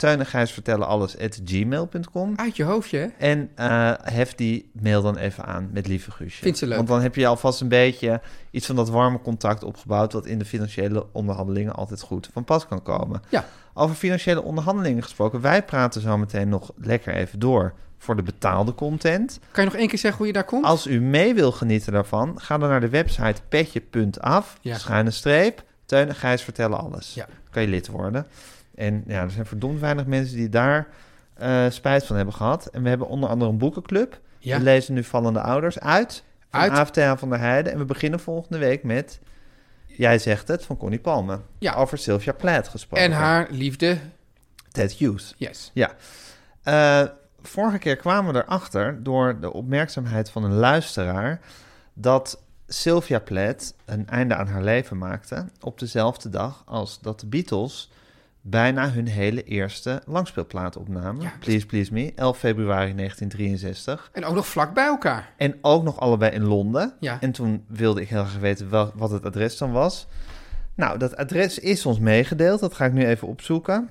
Speaker 1: tuinengijsvertellenalles@gmail.com
Speaker 2: Uit je hoofdje, hè?
Speaker 1: en eh hef die mail dan even aan met lieve Guusje.
Speaker 2: Vindt ze leuk.
Speaker 1: Want dan heb je alvast een beetje iets van dat warme contact opgebouwd wat in de financiële onderhandelingen altijd goed van pas kan komen.
Speaker 2: Ja.
Speaker 1: Over financiële onderhandelingen gesproken, wij praten zo meteen nog lekker even door voor de betaalde content.
Speaker 2: Kan je nog één keer zeggen hoe je daar komt?
Speaker 1: Als u mee wil genieten daarvan, ga dan naar de website petje.af,
Speaker 2: Ja.
Speaker 1: schuine streep, Teun en Gijs vertellen alles.
Speaker 2: Ja.
Speaker 1: Kan je lid worden. En ja, er zijn verdomd weinig mensen die daar eh, spijt van hebben gehad. En we hebben onder andere een boekenclub.
Speaker 2: Ja.
Speaker 1: We lezen nu Vallende Ouders uit. Van
Speaker 2: Uit.
Speaker 1: AFT aan van der Heijden. En we beginnen volgende week met... Jij zegt het, van Connie Palme.
Speaker 2: Ja.
Speaker 1: Over Sylvia Plath gesproken.
Speaker 2: En haar liefde,
Speaker 1: Ted Hughes.
Speaker 2: yes.
Speaker 1: Ja. Eh, vorige keer kwamen we erachter door de opmerkzaamheid van een luisteraar dat Sylvia Plath een einde aan haar leven maakte op dezelfde dag als dat de Beatles bijna hun hele eerste langspeelplaat opnamen.
Speaker 2: Ja.
Speaker 1: Please Please Me, 11 februari 1963.
Speaker 2: En ook nog vlak bij elkaar.
Speaker 1: En ook nog allebei in Londen.
Speaker 2: Ja.
Speaker 1: En toen wilde ik heel graag weten wel, wat het adres dan was. Nou, dat adres is ons meegedeeld. Dat ga ik nu even opzoeken.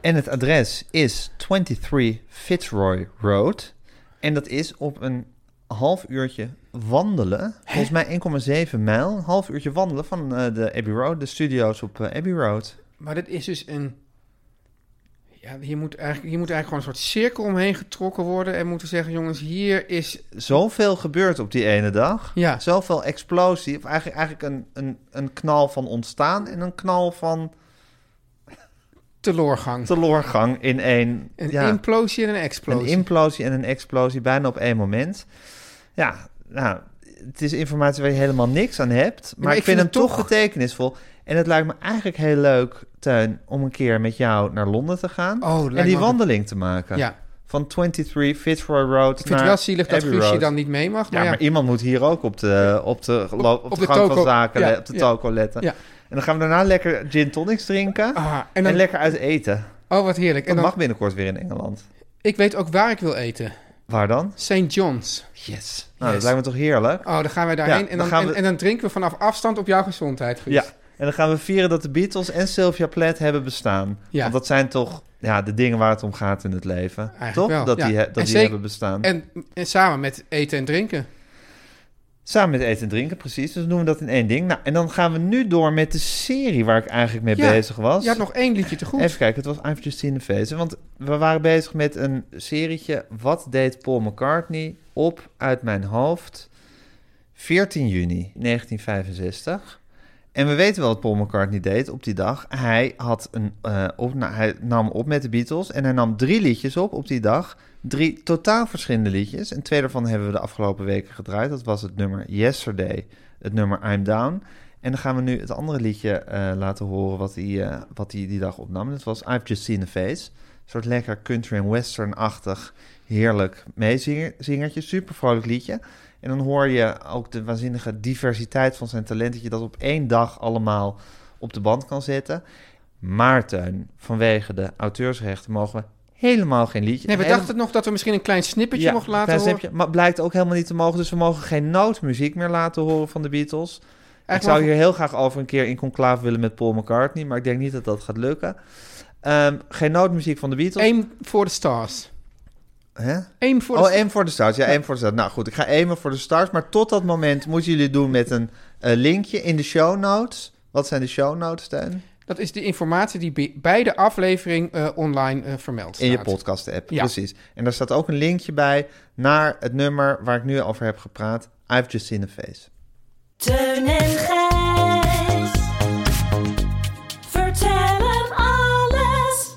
Speaker 1: En het adres is 23 Fitzroy Road. En dat is op een half uurtje wandelen. Volgens mij 1,7 mijl. Een half uurtje wandelen van eh, de Abbey Road, de studio's op eh, Abbey Road.
Speaker 2: Maar dit is dus een Ja, hier moet, eigenlijk, hier moet eigenlijk gewoon een soort cirkel omheen getrokken worden. En moeten zeggen, jongens, hier is...
Speaker 1: Zoveel gebeurt op die ene dag.
Speaker 2: Ja.
Speaker 1: Zoveel explosie. Of eigenlijk, eigenlijk een, een, een knal van ontstaan en een knal van
Speaker 2: Teloorgang.
Speaker 1: teloorgang in één.
Speaker 2: Een
Speaker 1: ja,
Speaker 2: implosie en een
Speaker 1: een
Speaker 2: explosie.
Speaker 1: implosie en een explosie bijna op één moment. Ja, nou, het is informatie waar je helemaal niks aan hebt. Maar,
Speaker 2: maar
Speaker 1: ik,
Speaker 2: ik
Speaker 1: vind,
Speaker 2: vind
Speaker 1: hem
Speaker 2: het
Speaker 1: toch
Speaker 2: toch-
Speaker 1: betekenisvol. En het lijkt me eigenlijk heel leuk, Teun, om een keer met jou naar Londen te gaan.
Speaker 2: Oh,
Speaker 1: en
Speaker 2: lijkt
Speaker 1: die
Speaker 2: me-
Speaker 1: wandeling te maken.
Speaker 2: ja,
Speaker 1: Van 23 Fitzroy Road
Speaker 2: ik vind het
Speaker 1: naar
Speaker 2: wel zielig dat
Speaker 1: Abbey
Speaker 2: Guusje
Speaker 1: Road.
Speaker 2: dan niet mee mag.
Speaker 1: Ja,
Speaker 2: Maar Oh ja,
Speaker 1: maar iemand moet hier ook op de, op de, gelo- op
Speaker 2: op
Speaker 1: de
Speaker 2: de
Speaker 1: gang
Speaker 2: toko.
Speaker 1: van zaken, le-
Speaker 2: Ja,
Speaker 1: op de
Speaker 2: ja.
Speaker 1: toko letten.
Speaker 2: Ja.
Speaker 1: En dan gaan we daarna lekker gin tonics drinken en,
Speaker 2: Ah, en dan,
Speaker 1: lekker uit eten.
Speaker 2: oh, wat heerlijk.
Speaker 1: Dat
Speaker 2: En dan,
Speaker 1: mag binnenkort weer in Engeland.
Speaker 2: ik weet ook waar ik wil eten.
Speaker 1: Waar dan?
Speaker 2: St. John's.
Speaker 1: Yes. Nou,
Speaker 2: Yes.
Speaker 1: dat lijkt me toch heerlijk.
Speaker 2: Oh, dan gaan wij daarheen.
Speaker 1: Ja,
Speaker 2: en,
Speaker 1: dan
Speaker 2: dan,
Speaker 1: gaan we-
Speaker 2: en, en dan drinken we vanaf afstand op jouw gezondheid, Guus.
Speaker 1: Ja. En dan gaan we vieren dat de Beatles en Sylvia Plath hebben bestaan.
Speaker 2: Ja.
Speaker 1: Want dat zijn toch ja, de dingen waar het om gaat in het leven.
Speaker 2: Eigenlijk
Speaker 1: toch?
Speaker 2: wel,
Speaker 1: Dat
Speaker 2: ja.
Speaker 1: die, he-
Speaker 2: En
Speaker 1: dat die
Speaker 2: zeker-
Speaker 1: hebben bestaan.
Speaker 2: En, en samen met eten en drinken.
Speaker 1: Samen met eten en drinken, precies. Dus doen we dat in één ding. Nou, en dan gaan we nu door met de serie waar ik eigenlijk mee
Speaker 2: Ja,
Speaker 1: bezig was.
Speaker 2: Je had nog één liedje te goed.
Speaker 1: Even kijken, het was I've Just Seen a Face. hè, Want we waren bezig met een serietje... Wat deed Paul McCartney op uit mijn hoofd 14 juni 1965. En we weten wel wat Paul McCartney deed op die dag. Hij, had een, eh, op, nou, hij nam op met de Beatles en hij nam drie liedjes op op die dag. Drie totaal verschillende liedjes. En twee daarvan hebben we de afgelopen weken gedraaid. Dat was het nummer Yesterday, het nummer I'm Down. En dan gaan we nu het andere liedje eh, laten horen wat hij, eh, wat hij die dag opnam. Dat was I've Just Seen a Face. Een soort lekker country en western-achtig, heerlijk meezingertje. Super vrolijk liedje. En dan hoor je ook de waanzinnige diversiteit van zijn talent... dat je dat op één dag allemaal op de band kan zetten. Maar Teun, vanwege de auteursrechten mogen we helemaal geen liedje...
Speaker 2: Nee, we
Speaker 1: hele-
Speaker 2: dachten nog dat we misschien een klein snippertje
Speaker 1: Ja,
Speaker 2: mochten
Speaker 1: een
Speaker 2: laten
Speaker 1: klein
Speaker 2: horen.
Speaker 1: snapje. Maar blijkt ook helemaal niet te mogen. Dus we mogen geen noodmuziek meer laten horen van de Beatles.
Speaker 2: Eigenlijk
Speaker 1: ik zou
Speaker 2: wel-
Speaker 1: hier heel graag over een keer in conclave willen met Paul McCartney... maar ik denk niet dat dat gaat lukken. Ehm, geen noodmuziek van de Beatles.
Speaker 2: Aim for the stars.
Speaker 1: Hè?
Speaker 2: Aim for
Speaker 1: oh,
Speaker 2: the
Speaker 1: één voor de start. Ja, één voor de start. Nou goed, ik ga aimen voor de start. Maar tot dat moment moeten jullie het doen met een eh, linkje in de show notes. Wat zijn de show notes, Teun?
Speaker 2: Dat is de informatie die bij- bij de aflevering eh, online eh, vermeld staat.
Speaker 1: In je podcast app,
Speaker 2: Ja.
Speaker 1: precies. En daar staat ook een linkje bij naar het nummer waar ik nu over heb gepraat. I've just seen a face.
Speaker 4: Teun en Gijs. Vertel hem alles.